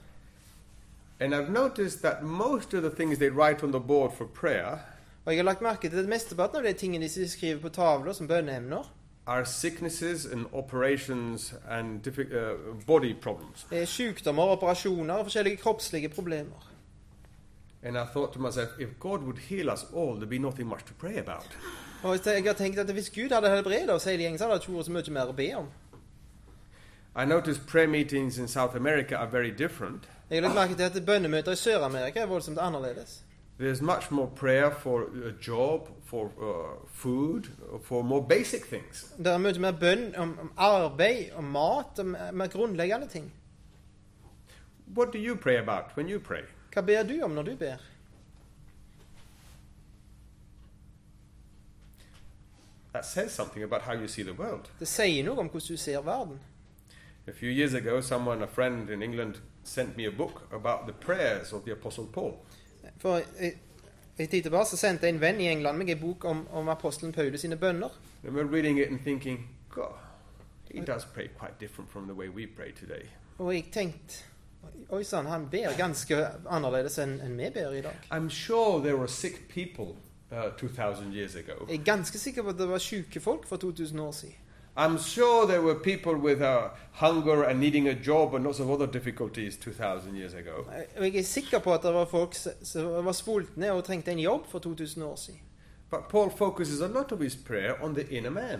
And I've noticed that most of the things they write on the board for prayer Og jeg har lagt merke til at mesteparten av de tingene de skriver på tavler som bønneemner, are sicknesses and operations and diffi- uh, body problems. er sykdommer, operasjoner og forskjellige kroppslige problemer. And I thought to myself, if God would heal us all, there'd be nothing much to pray about. Og jeg har tenkt at hvis Gud hadde helbreda oss hele gjengen, så hadde det ikke vært så mye mer å be om. I noticed prayer meetings in South America are very different. Jeg har lagt merke til at bønnemøter i Sør-Amerika er voldsomt annerledes. There's much more prayer for a job, for uh, food, for more basic things. Det er mye mer bønn om, om arbeid, om mat, om eh, mer grunnleggende ting. What do you pray about when you pray? Hva ber du om når du ber? That says something about how you see the world. Det sier noe om hvordan du ser verden. A few years ago, someone, a friend in England, sent me a book about the prayers of the Apostle Paul. For eh, en tid tilbake så sendte en venn i England meg en bok om, om apostelen Paulus sine bønner. I remember reading it and thinking, God, He does pray quite different from the way we pray today. Og jeg tenkte Oi sann, han ber ganske annerledes enn enn vi ber i dag. I'm sure there were sick people uh, 2,000 years ago. Jeg er ganske sikker på at det var sjuke folk for 2000 år siden. I'm sure there were people with uh, hunger and needing a job and lots of other difficulties 2,000 years ago. Og jeg er sikker på at det var folk s- som var sultne og trengte en jobb for 2000 år siden. But Paul focuses a lot of his prayer on the inner man.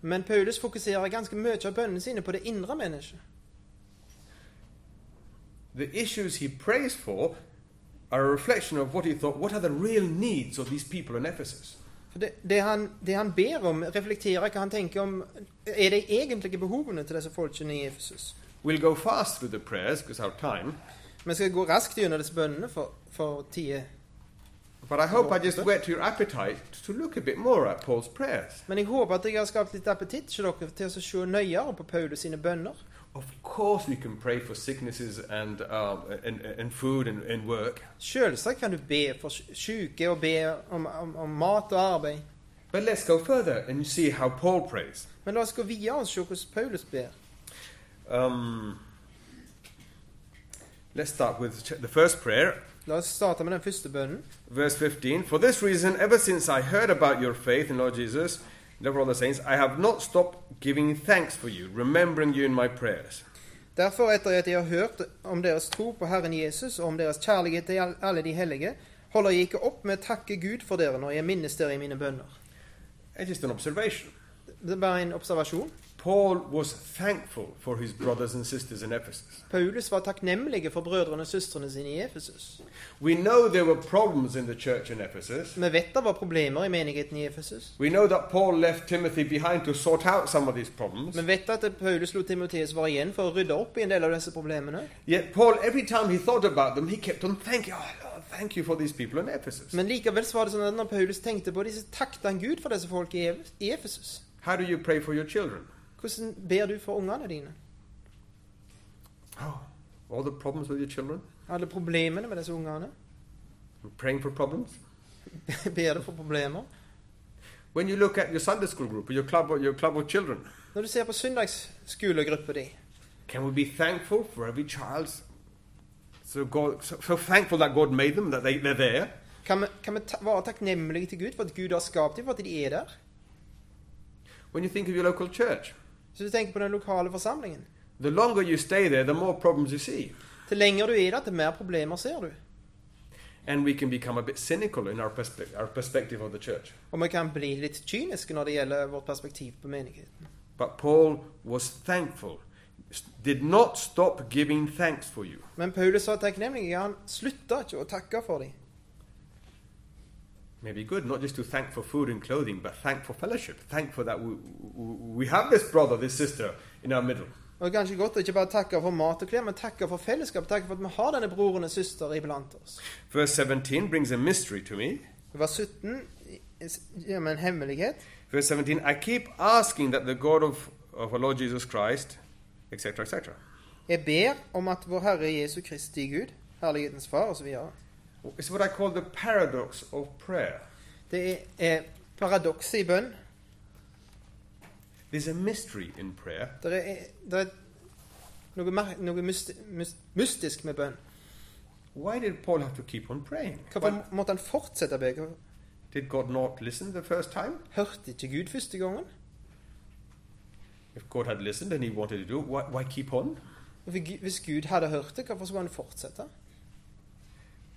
Men Paulus fokuserer ganske mye av bønnene sine på det indre mennesket. The issues he prays for are a reflection of what he thought, what are the real needs of these people in Ephesus? For det, det, han, det han ber om, reflekterer hva han tenker om Er de egentlige behovene til disse folkene i Efesus? We'll go fast through the prayers because our time, Vi skal gå raskt gjennom disse bønnene for, for tida. but I hope I just whet your appetite to look a bit more at Paul's prayers. Men jeg håper at jeg har skapt litt appetitt hos dere til å se nøyere på Paulus sine bønner. Of course, we can pray for sicknesses and, uh, and, and food and, and work, Selvsagt kan du be for syke og be om, om, om mat og arbeid. but let's go further and see how Paul prays. Men la oss gå videre og se hvordan Paulus ber. Um, let's start with ch- the first prayer, La oss starte med den første bønnen. verse 15. For this reason, ever since I heard about your faith in Lord Jesus, love for all the saints, I have not stopped giving thanks for you, remembering you in my prayers. Derfor, etter at jeg har hørt om deres tro på Herren Jesus og om deres kjærlighet til all- alle de hellige, holder jeg ikke opp med å takke Gud for dere når jeg minnes dere i mine bønner. It's just an observation. Det er bare en observasjon. Paul was thankful for his brothers and sisters in Ephesus. Paulus var takknemlig for brødrene og søstrene sine i Efesus. We know there were problems in the church in Ephesus. Vi vet det var problemer i menigheten i Efesus. We know that Paul left Timothy behind to sort out some of these problems. Vi vet at Paulus lot Timoteus være igjen for å rydde opp i en del av disse problemene. Yet Paul, every time he thought about them, he kept on thanking, oh, Lord, thank you for these people in Ephesus. Men likevel så var det sånn at når Paulus tenkte på disse, takket han Gud for disse folk i Ev- i Efesus. How do you pray for your children? Hvordan ber du for ungene dine? Oh, all the problems with your children? Alle problemene med disse ungene? And praying for problems? Ber du for problemer? When you look at your Sunday school group or your club or your club of children, Når du ser på søndagsskolegruppa di, can we be thankful for every child? So, God, so, so thankful that God made them, that they, they're there. kan vi, kan vi ta, være takknemlige til Gud for at Gud har skapt dem, for at de er der? When you think of your local church, Så du tenker på den lokale forsamlingen. the longer you stay there, the more problems you see. Til lenger du er der, til mer problemer ser du. And we can become a bit cynical in our, perspe- our perspective of the church. Og vi kan bli litt kyniske når det gjelder vårt perspektiv på menigheten. But Paul was thankful, did not stop giving thanks for you. Men Paulus var takknemlig. Han slutta ikke å takke for dem. Maybe good, not just to thank for food and clothing, but thank for fellowship. Thank for that we, we we have this brother, this sister in our middle. Og det er kanskje godt å ikke bare takke for mat og klær, men takke for fellesskap. Takke for at vi har denne broren og søster iblant oss. Verse 17 brings a mystery to me. Vers 17 gir meg en hemmelighet. Verse 17 I keep asking that the God of, of our Lord Jesus Christ, etc., etc. Jeg ber om at vår Herre Jesu Kristi Gud, Herlighetens Far osv. It's what I call the paradox of prayer. Det er, er paradokset i bønn. There's a mystery in prayer. Det er, det er noe, mer, noe mysti, mys- mystisk med bønn. Why did Paul have to keep on praying? Hvorfor Why- måtte han fortsette å be? Did God not listen the first time? Hørte ikke Gud første gangen? If God had listened and he wanted to do it, why, why keep on? Og Hvis Gu- hvis Gud hadde hørt det, hvorfor skulle han fortsette?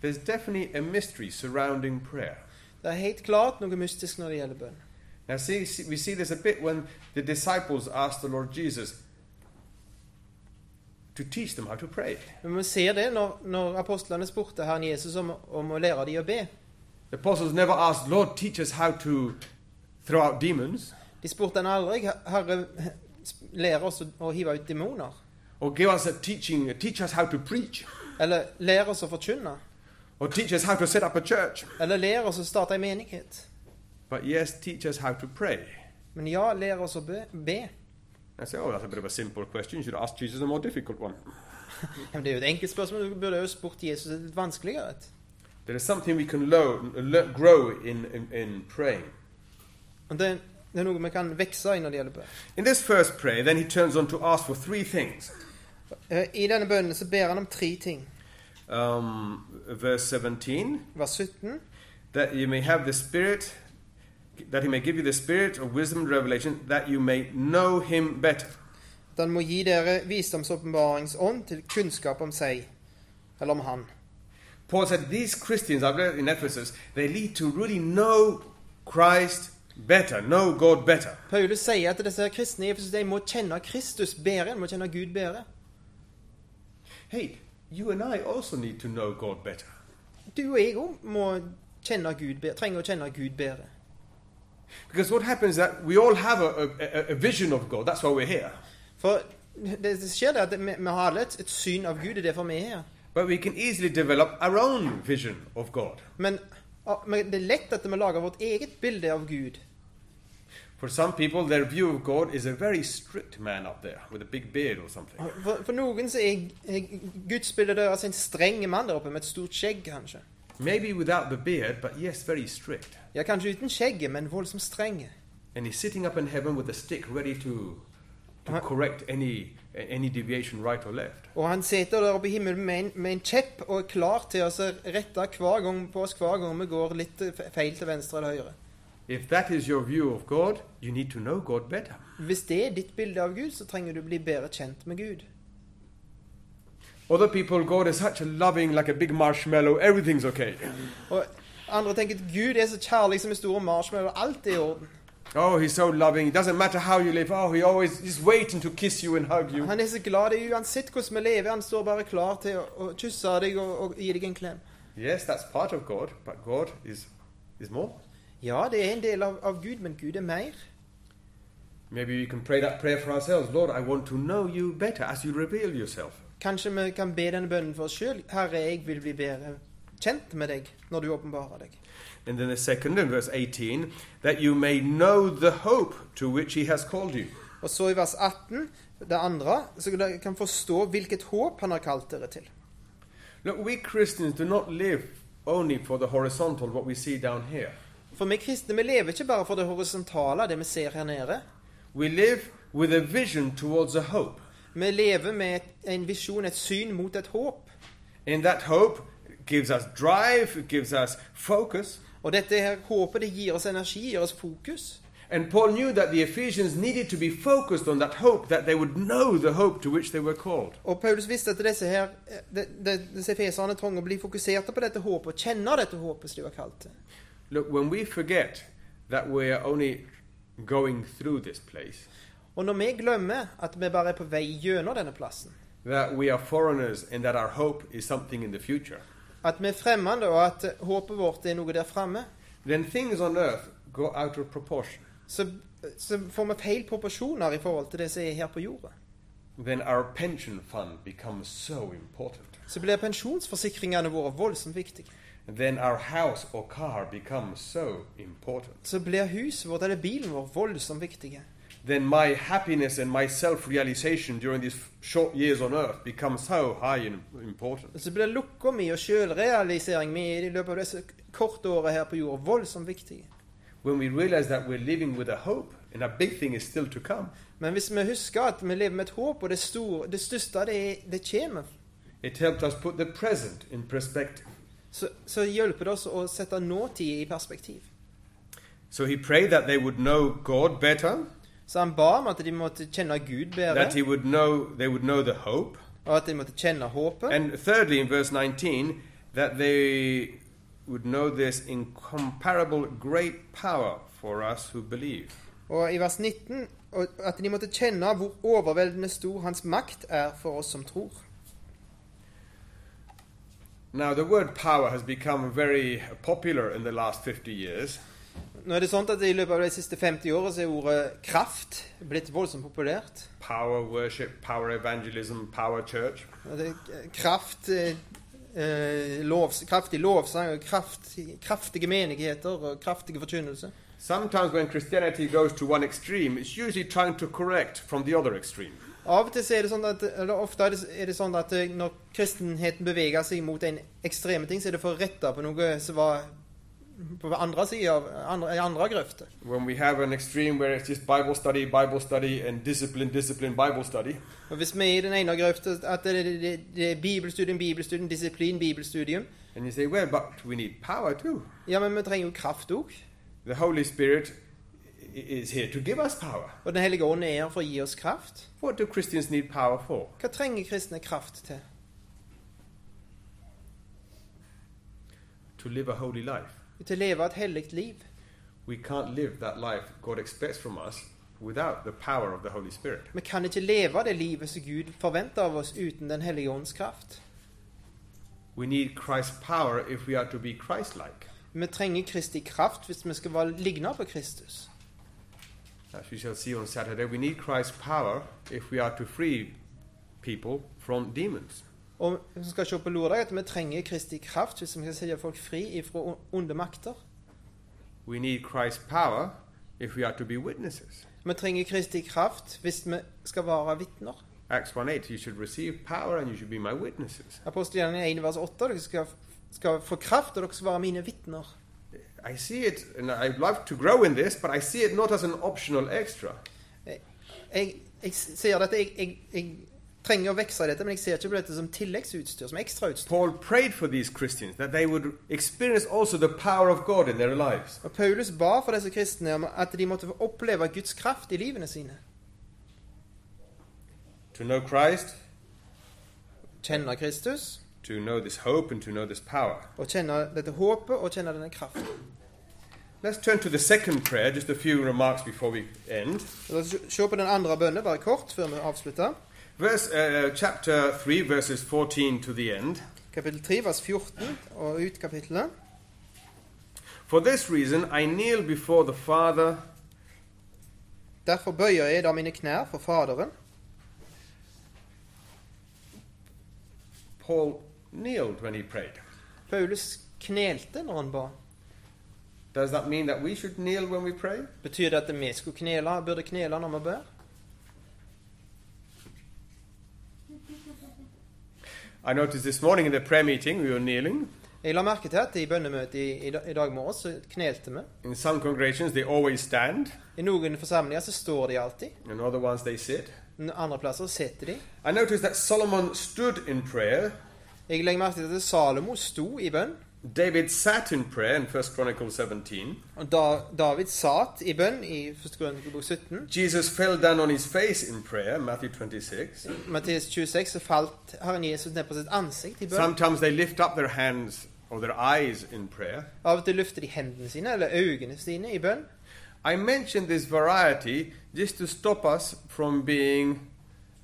There's definitely a mystery surrounding prayer. Det er helt klart noe mystisk når det gjelder bønn. Now, see, see, we see this a bit when the disciples asked the Lord Jesus to teach them how to pray. Men vi ser det når, når apostlene spurte Herren Jesus om, om å lære dem å be. The apostles never asked, Lord, teach us how to throw out demons De spurte han aldri Herre, lær oss å, å hive ut demoner. or give us a teaching, teach us how to preach Eller lær oss å forkynne. or teach us how to set up a church. Eller lær oss å starte ei menighet. But yes, teach us how to pray. Men ja, lær oss å be. be. I say, oh, that's a bit of a simple question. You should ask Jesus a more difficult one. Men det er jo et enkelt spørsmål. Du burde jo spurt Jesus et litt vanskeligere et. There is something we can lo- le- grow in, in, in praying. Og Det, Det er noe vi kan vokse i når det gjelder bønn. In this first prayer, then he turns on to ask for three things. Eh, I denne bønnen så ber han om tre ting. Um, verse 17 Vers 17. that you may have the spirit, that he may give you the spirit of wisdom and revelation, that you may know him better. At han må gi dere visdomsåpenbaringsånd til kunnskap om seg, eller om han. Paul said these Christians I've read in Ephesus, they need to really know Christ better, know God better. Paulus sier at disse her kristne i Efesus, de må kjenne Kristus bedre, de må kjenne Gud bedre. Hey, you and I also need to know God better. Du og jeg òg må kjenne Gud bedre, trenger å kjenne Gud bedre. Because what happens is that we all have a, a, a- a vision of God. That's why we're here. For det, det skjer det at vi, vi har alle et, et syn av Gud, det er derfor vi er her. But we can easily develop our own vision of God. Men, ah, men det er lett at vi lager vårt eget bilde av Gud. For some people, their view of God is a very strict man up there with a big beard or something. For, for noen så er er gudsbildet deres altså en streng mann der oppe med et stort skjegg, kanskje. Maybe without the beard, but yes, very strict. Ja, kanskje uten skjegget, men voldsomt streng. And he's sitting up in heaven with a stick ready to, to Uh-huh. correct any, any deviation right or left. Og han sitter der oppe i himmelen med en, med en kjepp og er klar til å så rette hver gang på oss hver gang vi går litt eh, fe- feil til venstre eller høyre. If that is your view of God, you need to know God better. Hvis det er ditt bilde av Gud, så trenger du bli bedre kjent med Gud. Other people, God is such a loving, like a big marshmallow, everything's okay. Og andre tenker at Gud er så kjærlig som en stor marshmallow, alt er i orden. Oh, he's so loving. It doesn't matter how you live. Oh, he always he's waiting to kiss you and hug you. Han er så glad i deg uansett hvordan vi lever, han står bare klar til å, å kysse deg og, og gi deg en klem. Yes, that's part of God, but God is is more. Ja, det er en del av, av Gud, men Gud er mer. Maybe we can pray that prayer for ourselves. Lord, I want to know you better as you reveal yourself. Kanskje vi kan be denne bønnen for oss sjøl. Herre, jeg vil bli bedre kjent med deg når du åpenbarer deg. And then the second in verse 18, that you may know the hope to which he has called you. Og så i vers 18, det andre, så dere kan forstå hvilket håp han har kalt dere til. Look, we Christians do not live only for the horizontal, what we see down here. For vi kristne vi lever ikke bare for det horisontale, det vi ser her nede. We live with a vision towards a hope. Vi lever med et, en visjon, et syn mot et håp. And that hope gives us drive, it gives us focus. Og dette her håpet det gir oss energi, gir oss fokus. And Paul knew that the Ephesians needed to be focused on that hope, that they would know the hope to which they were called. Og Paulus visste at disse her, eh, de, de, disse feserne trengte å bli fokuserte på dette håpet og kjenne dette håpet som de var kalt til. Look, when we forget that we're only going through this place, Og når vi glemmer at vi bare er på vei gjennom denne plassen, that we are foreigners and that our hope is something in the future, at vi er fremmede og at eh, håpet vårt er noe der framme, then things on earth go out of proportion. så, så får vi feil proporsjoner i forhold til det som er her på jorda. Then our pension fund becomes so important. Så blir pensjonsforsikringene våre voldsomt viktige. Then our house or car becomes so important. Så blir huset vårt eller bilen vår voldsomt viktige. Then my happiness and my self realization during these short years on earth becomes so high and important. Så blir lukka mi og sjølrealisering mi i løpet av disse korte åra her på jorda voldsomt viktige. When we realize that we're living with a hope and a big thing is still to come, Men hvis vi husker at vi lever med et håp, og det, store, det største det, er- det kommer, it helps us put the present in perspective. så, så hjelper det oss å sette nåtid i perspektiv. So he prayed that they would know God better, Så han ba om at de måtte kjenne Gud bedre, that he would know they would know the hope. og at de måtte kjenne håpet. And thirdly, in verse 19, that they would know this incomparable great power for us who believe. Og i vers 19 og at de måtte kjenne hvor overveldende stor hans makt er for oss som tror. Now, the word power has become very popular in the last 50 years. Nå er det sånn at I løpet av de siste 50 årene så er ordet 'kraft' blitt voldsomt populært. Power worship, power evangelism, power church. Og Det er kraft, eh, eh, lovs, kraftig lovsang, og kraft, kraftige menigheter og kraftige forkynnelse. Sometimes when Christianity goes to one extreme, it's usually trying to correct from the other extreme. Av og til så er det sånn at, eller ofte er det, er det sånn at eh, når kristenheten beveger seg mot en ekstreme ting, så er det for å rette på noe som var på andre siden av andre, i andre grøfter. When we have an extreme where it's just Bible study, Bible study, and discipline, discipline, Bible study, Og hvis vi i den ene grøfta at det, det, det, det er bibelstudium, bibelstudium, disiplin, bibelstudium and you say, well, but we need power too. Ja, men vi trenger jo kraft òg. The Holy Spirit i- is here to give us power. Og Den hellige ånd er her for å gi oss kraft. What do Christians need power for? Hva trenger kristne kraft til? To live a holy life. Til å leve et hellig liv. We can't live that life God expects from us without the power of the Holy Spirit. Vi kan ikke leve det livet som Gud forventer av oss uten Den hellige ånds kraft. We need Christ's power if we are to be Christ like. Vi trenger Kristi kraft hvis vi skal være ligne på Kristus. As we shall see on Saturday, we need Christ's power if we are to free people from demons. Og vi skal se på lørdag at vi trenger Kristi kraft hvis vi skal sette folk fri ifra onde makter. We need Christ's power if we are to be witnesses. Vi trenger Kristi kraft hvis vi skal være vitner. Acts 1 8, you should receive power and you should be my witnesses. Apostelgjerningen 1 vers 8. Dere skal, skal få kraft, og dere skal være mine vitner. I see it, and I'd love to grow in this, but I see it not as an optional extra. Jeg, jeg ser dette, jeg, jeg, jeg trenger å vokse i dette, men jeg ser ikke på dette som tilleggsutstyr, som ekstrautstyr. Paul prayed for these Christians that they would experience also the power of God in their lives. Og Paulus ba for disse kristne om at de måtte få oppleve Guds kraft i livene sine. To know Christ, Kjenne Kristus, to know this hope, and to know this power. og kjenne dette håpet, og kjenne denne kraften. Let's turn to the second prayer, just a few remarks before we end. La oss se på den andre bønnen, bare kort, før vi avslutter. Verse, uh, chapter 3, verses 14 to the end. Kapittel 3, vers 14, og ut kapittelet. For this reason, I kneel before the Father, Derfor bøyer jeg da mine knær for Faderen. Paul kneeled when he prayed. Paulus knelte når han ba. Does that mean that we should kneel when we pray? Betyr det at vi skulle knele, burde knele når vi ber? I noticed this morning in the prayer meeting we were kneeling. Jeg la merke til at i bønnemøtet i, i, da- i dag morges så knelte vi. In some congregations, they always stand, I noen forsamlinger så står de alltid. in other ones, they sit. I andre plasser sitter de. I noticed that Solomon stood in prayer, Jeg legger merke til at Salomo sto i bønn. David sat in prayer in 1 Chronicles 17, Og da, David satt i bønn i 1. Krønikebok 17. Jesus fell down on his face in prayer, Matthew 26. Matteus 26 så falt Herren Jesus ned på sitt ansikt i bønn. Sometimes they lift up their hands or their eyes in prayer. Av og til løfter de hendene sine, eller øynene sine, i bønn. I mention this variety just to stop us from being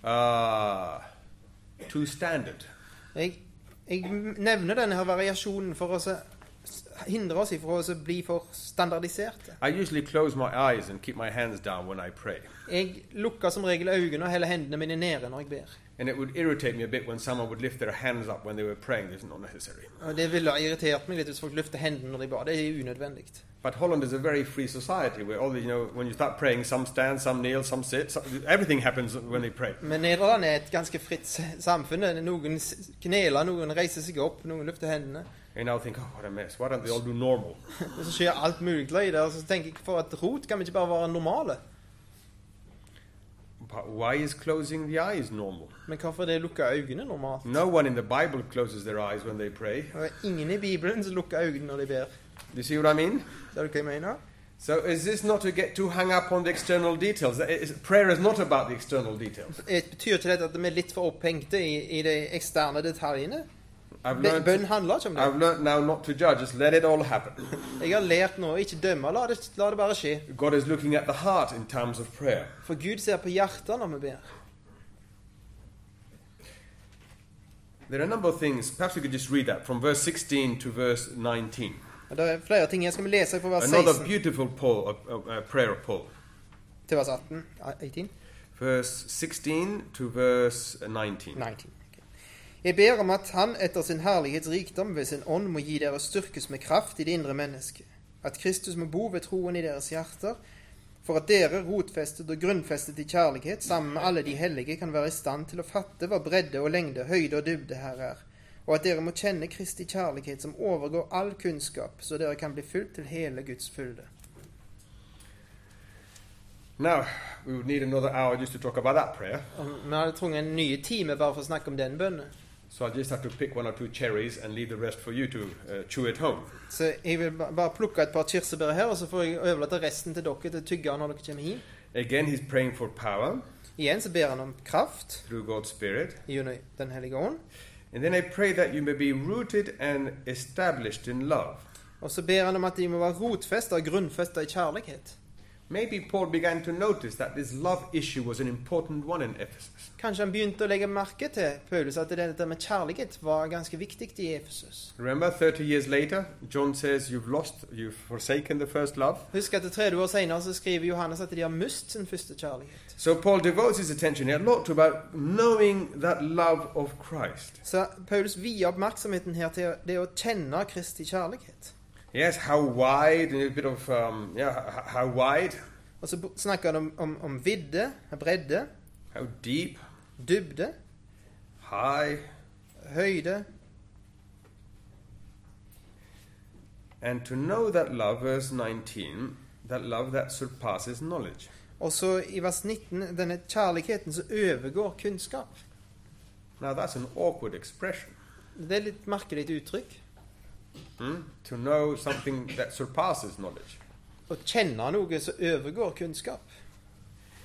uh, too standard. Jeg, jeg nevner denne her variasjonen for å så- hindre oss ifra å så bli for standardiserte. I usually close my eyes and keep my hands down when I pray. Jeg lukker som regel øynene og heller hendene mine nede når jeg ber. And it would irritate me a bit when someone would lift their hands up when they were praying. This is not necessary. Og Det ville ha irritert meg litt hvis folk løfter hendene når de ba. Det er unødvendig. But Holland is a very free society where all the, you know, when you start praying, some stand, some kneel, some sit. Some, everything happens when they pray. Men Nederland er et ganske fritt s- samfunn. Noen s- kneler, noen reiser seg opp, noen løfter hendene. And I'll think, oh, what a mess. Why don't they all do normal? Og så skjer alt mulig løy der. og Så tenker jeg, for et rot kan vi ikke bare være normale. But why is closing the eyes normal? Men hvorfor er det lukka øyne normalt? No one in the Bible closes their eyes when they pray. Og det er ingen i Bibelen som lukker øynene når de ber. You see what I mean? Ser du hva jeg mener? So is this not to get too hung up on the external details? That is- prayer is not about the external details. Det Eh, betyr ikke dette at vi er litt for opphengte i, i de eksterne detaljene? I've Be- learned, Bønn handler ikke om det. I've learned now not to judge. Just let it all happen. Jeg har lært nå å ikke dømme. La det, la det bare skje. God is looking at the heart in times of prayer. For Gud ser på hjertet når vi ber. There are a number of things. Perhaps we could just read that from verse 16 to verse 19. Og Det er flere ting. Jeg skal vi lese fra vers Another 16 beautiful Paul, uh, uh, uh, prayer of Paul. til vers 18. ah, 18? Verse 16 to verse 19. 19. Ok. Jeg ber om at Han etter sin herlighets rikdom ved sin ånd må gi dere styrkes med kraft i det indre mennesket. At Kristus må bo ved troen i deres hjerter, for at dere, rotfestet og grunnfestet i kjærlighet, sammen med alle de hellige, kan være i stand til å fatte hva bredde og lengde, høyde og dybde her er, og at dere må kjenne Kristi kjærlighet som overgår all kunnskap, så dere kan bli fylt til hele Guds fylde. Now, we would need another hour just to talk about that prayer. Og Vi hadde trengt en ny time bare for å snakke om den bønnen. So I just have to pick one or two cherries and leave the rest for you to uh, chew at home. Så jeg vil ba- bare plukke et par kirsebær her, og så får jeg overlate resten til dere til å tygge når dere kommer hit. Again, he's praying for power Igjen så ber han om kraft through God's Spirit. gjennom Den hellige ånd. And then I pray that you may be rooted and established in love. Og så ber han om at de må være rotfesta og grunnfesta i kjærlighet. Maybe Paul began to notice that this love issue was an important one in Ephesus. Kanskje han begynte å legge merke til Paulus at det der med kjærlighet var ganske viktig i Efesus. Remember, 30 years later, John says, You've lost, you've forsaken the first love. Husk at 30 år senere så skriver Johannes at de har mist sin første kjærlighet. So Paul devotes his attention here a lot to about knowing that love of Christ. Så Paulus vier oppmerksomheten her til det å kjenne Kristi kjærlighet. Yes, how wide, and a bit of, um, yeah, h- how wide, Og så b- snakker han om, om, om vidde, bredde, how deep, dybde, high, høyde, and to know that love, verse 19, that love that surpasses knowledge. Og så i vers 19 denne kjærligheten som overgår kunnskap. Now that's an awkward expression. Det er litt merkelig uttrykk. hmm? To know something that surpasses knowledge. Å kjenne noe som overgår kunnskap.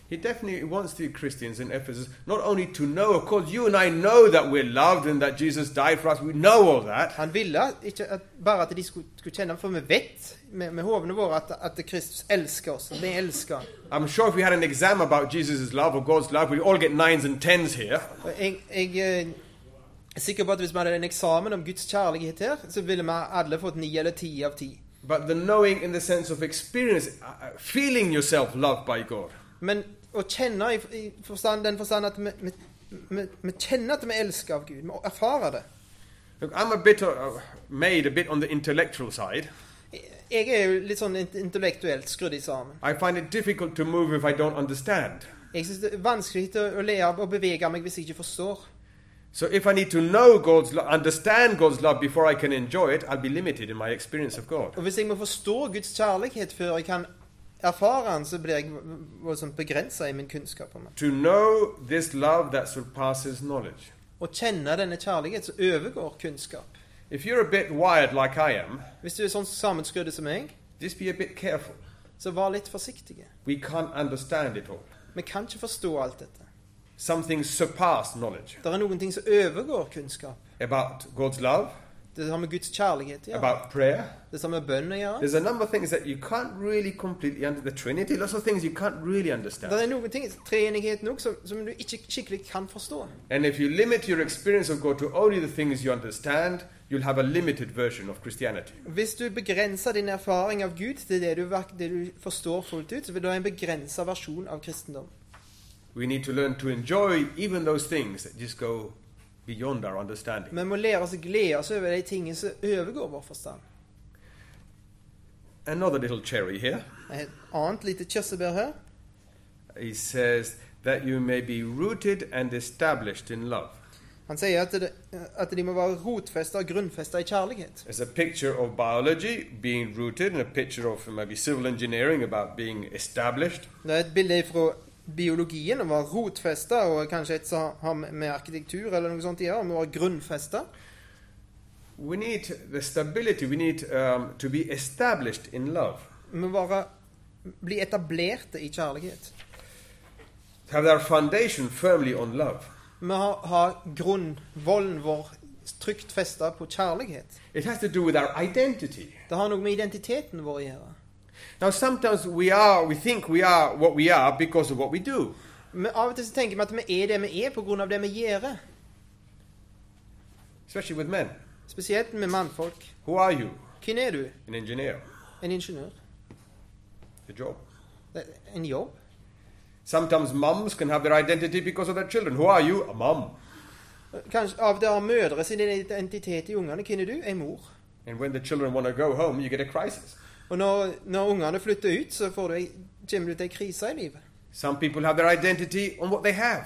He definitely wants the Christians in Ephesus not only to know, of course, you and I know that we're loved and that Jesus died for us, we know all that. Han ville ikke at, bare at de skulle, skulle kjenne, for vi vet med, med hovene våre at, at Kristus elsker oss. og Vi elsker han. I'm sure if we had an exam about Jesus' love or God's love, we all get nines and tens here. Og jeg, jeg eh, er sikker på at hvis vi hadde en eksamen om Guds kjærlighet her, så ville vi alle fått ni eller ti av ti. But the knowing in the sense of experience, uh, uh, feeling yourself loved by God. Men å kjenne i, i forstand, den forstand at vi, vi, vi, vi kjenner at vi elsker av Gud. Vi erfarer det. Look, I'm a bit uh, made a bit on the intellectual side. Jeg er jo litt sånn int- intellektuelt skrudd i sammen. I find it difficult to move if I don't understand. Jeg syns det er vanskelig å, å le av og bevege meg hvis jeg ikke forstår. So if I need to know God's love, understand God's love before I can enjoy it, I'll be limited in my experience of God. Og hvis jeg må forstå Guds kjærlighet før jeg kan erfare den, så blir jeg v- voldsomt begrensa i min kunnskap om den. To know this love that surpasses knowledge. Å kjenne denne kjærlighet som overgår kunnskap. If you're a bit wired like I am, Hvis du er sånn sammenskrudd som meg, just be a bit careful. så vær litt forsiktige. We can't understand it all. Vi kan ikke forstå alt dette. Something surpassed knowledge Det er noen ting som overgår kunnskap. about God's love, Det har med Guds kjærlighet å gjøre. about prayer. Det har med bønn å gjøre. There's a number of things that you can't really completely under the Trinity. Lots of things you can't really Det understand. er noen ting, treenigheten òg, som, som du ikke skikkelig kan forstå. And if you limit your experience of God to only the things you understand, you'll have a limited version of Christianity. Hvis du begrenser din erfaring av Gud til det du, verk- det du forstår fullt ut, så vil du ha en begrensa versjon av kristendom. We need to learn to enjoy even those things that just go beyond our understanding. Vi må lære oss å glede oss over de tingene som overgår vår forstand. Another little cherry here. Et annet lite kirsebær her. He says that you may be rooted and established in love. Han sier at, det, at de må være rotfesta og grunnfesta i kjærlighet. There's a picture of biology being rooted and a picture of maybe civil engineering about being established. Det er et bilde fra biologien om å være rotfesta, og kanskje et som har med med arkitektur eller noe sånt å gjøre, om å være grunnfesta. We need the stability, we need um, to be established in love. Vi må være, bli etablerte i kjærlighet. Have our foundation firmly on love. Vi har, har grunnvollen vår trygt festa på kjærlighet. It has to do with our identity. Det har noe med identiteten vår å gjøre. Now, sometimes we are, we think we are what we are because of what we do. Men av og til så tenker vi at vi er det vi er pga. det vi gjør. especially with men. Spesielt med mannfolk. Who are you? Hvem er du? An engineer. En ingeniør? A job. Det er En jobb? Sometimes mums can have their identity because of their children. Who are you? A mum. Kanskje Av og til har mødre sin identitet i ungene. Hvem er du? En mor. And when the children want to go home, you get a crisis. Og når, når ungene flytter ut, så får du, ei- kommer du til ei krise i livet. Some people have their identity on what they have.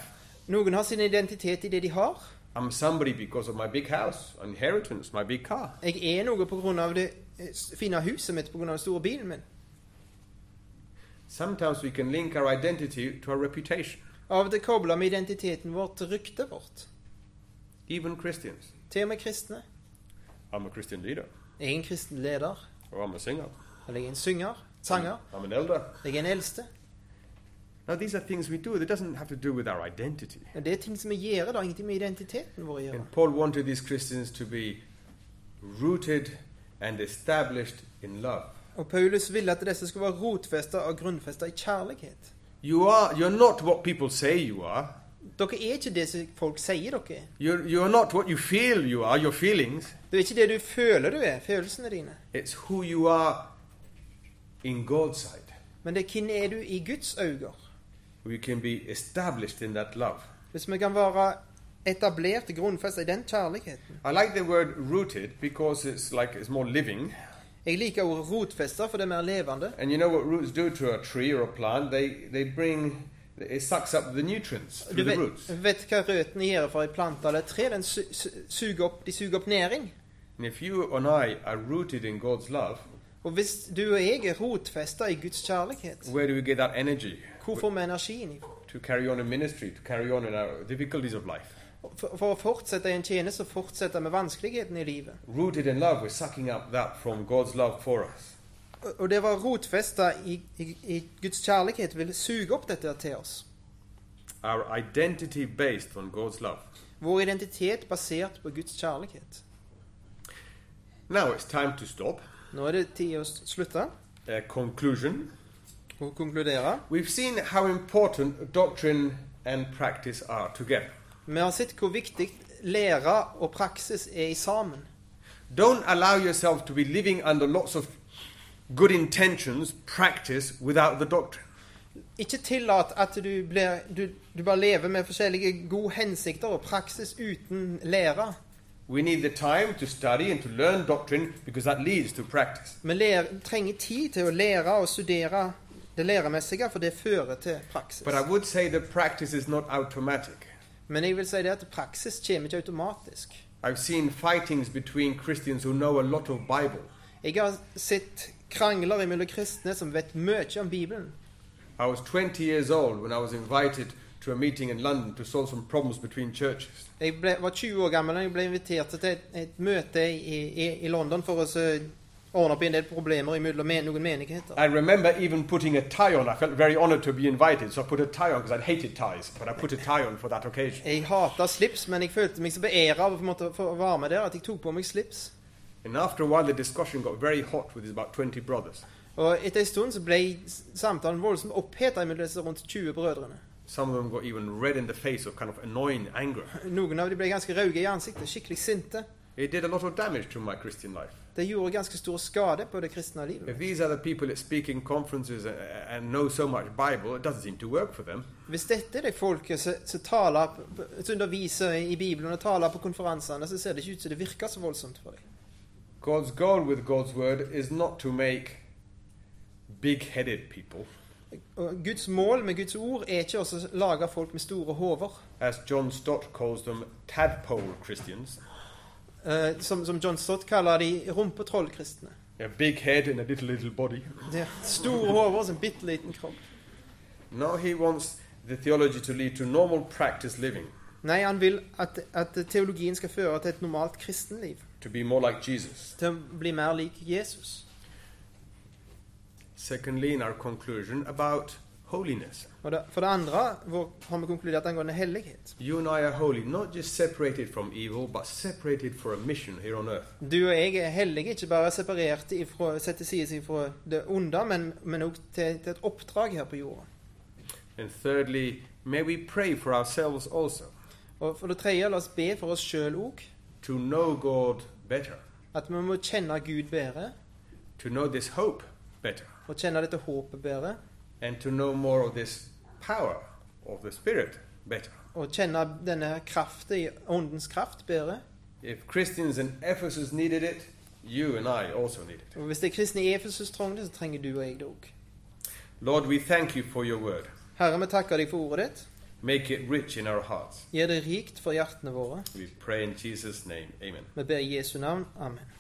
Noen har sin identitet i det de har. I'm somebody because of my big house, inheritance, my big car. Jeg er noe på grunn av det eh, fine huset mitt, på grunn av den store bilen min. Sometimes we can link our identity to our reputation, Av og til kobler vi identiteten vår til ryktet vårt. even Christians. Til og med kristne. I'm a Christian leader, Jeg er en kristen leder. or I'm a singer, Eller jeg er en synger. Sanger. I'm an elder. Jeg er en eldste. Now, these are things we do that doesn't have to do with our identity. Og Det er ting som vi gjør, da. Ingenting med identiteten vår å gjøre. And Paul wanted these Christians to be rooted and established in love. Og Paulus ville at disse skulle være rotfesta og grunnfesta i kjærlighet. You are, you're not what people say you are. Dere er ikke det som folk sier dere er. You're, you're not what you feel you are, your feelings. Det er ikke det du føler du er, følelsene dine. It's who you are in God's sight. Men det er hvem er du i Guds øyne. We can be established in that love. Hvis vi kan være etablert grunnfesta i den kjærligheten. I like the word rooted because it's like it's more living. Jeg liker ordet rotfesta, for det er mer levende. And you know what roots do to a tree or a plant? They, they bring, it sucks up the nutrients Du through the vet, roots. vet hva røttene gjør for ei plante eller et tre? Den su su suger opp, de suger opp næring. And if you and I are rooted in God's love, Og hvis du og jeg er rotfesta i Guds kjærlighet, where do we get that energy hvor får vi energien ifra? to carry on in ministry, to carry on in our difficulties of life? For, for å fortsette i en tjeneste, så fortsetter vi vanskelighetene i livet. Rooted in love, we're sucking up that from God's love for us. Og det var rotfesta i, i, i Guds kjærlighet vil suge opp dette til oss. Our identity based on God's love. Vår identitet basert på Guds kjærlighet. Now it's time to stop. Nå er det tid å s- slutte A conclusion. og konkludere. We've seen how important doctrine and practice are together. Vi har sett hvor viktig lære og praksis er i sammen. Don't allow yourself to be living under lots of good intentions, practice without the doctrine. Ikke tillat at du, blir, du, du bare lever med forskjellige gode hensikter og praksis uten lære. We need the time to study and to learn doctrine because that leads to practice. Vi lær- trenger tid til å lære og studere det læremessige, for det fører til praksis. But I would say that practice is not automatic. Men jeg vil si det at praksis kommer ikke automatisk. I've seen fightings between Christians who know a lot of Bible. Jeg har sett krangler mellom kristne som vet mye om Bibelen. I was 20 years old when I was invited to a meeting in London to solve some problems between churches. Jeg ble, var 20 år gammel da jeg ble invitert til et, et møte i, i, i London for å så ordne opp i en del problemer mellom men, noen menigheter. I remember even putting a tie on. I felt very honored to be invited, so I put a tie on because I hated ties, but I put a tie on for that occasion. Jeg hata slips, men jeg følte meg så beæra av å måtte få være med der at jeg tok på meg slips. And after a while, the discussion got very hot with about 20 brothers. Og etter en stund så ble s- samtalen voldsomt oppheta mellom disse rundt 20 brødrene. Some of them got even red in the face of kind of annoying anger. Noen av de ble ganske rauge i ansiktet, skikkelig sinte. It did a lot of damage to my Christian life. Det gjorde ganske stor skade på det kristne livet. If these are the people that speak in conferences and, and know so much Bible, it doesn't seem to work for them. Hvis dette er det folket som som taler på- som underviser i Bibelen og taler på konferansene, så ser det ikke ut som det virker så voldsomt for dem. God's goal with God's word is not to make big headed people. Og Guds mål med Guds ord er ikke også å lage folk med store hoder, As John Stott calls them, tadpole Christians. eh, som, som John Stott kaller de rumpetrollkristne. A big head and a little, little body. Det er store hoder som en bitte liten kropp. No, he wants the theology to lead to normal practice living, Nei, han vil at, at teologien skal føre til et normalt kristenliv, to be more like Jesus. til å bli mer lik Jesus. Secondly, in our conclusion about holiness. Og det, for det andre vår, har vi konkludert angående hellighet. You and I are holy, not just separated from evil, but separated for a mission here on earth. Du og jeg er hellige, ikke bare separerte ifra, sett til side fra det onde, men, men også til, til et oppdrag her på jorda. And thirdly, may we pray for ourselves also, Og for det tredje, la oss be for oss sjøl òg. to know God better, At vi må kjenne Gud bedre, to know this hope better, og kjenne dette håpet bedre. and to know more of this power of the Spirit better. Og kjenne denne kraften, i åndens kraft, bedre. If Christians in Ephesus needed it, you and I also need it. Og hvis det er kristne i Efesus trenger det, så trenger du og jeg det òg. Lord, we thank you for your word. Herre, vi takker deg for ordet ditt. Make it rich in our hearts. Gjør det rikt for hjertene våre. We pray in Jesus' name. Amen. Vi ber i Jesu navn. Amen.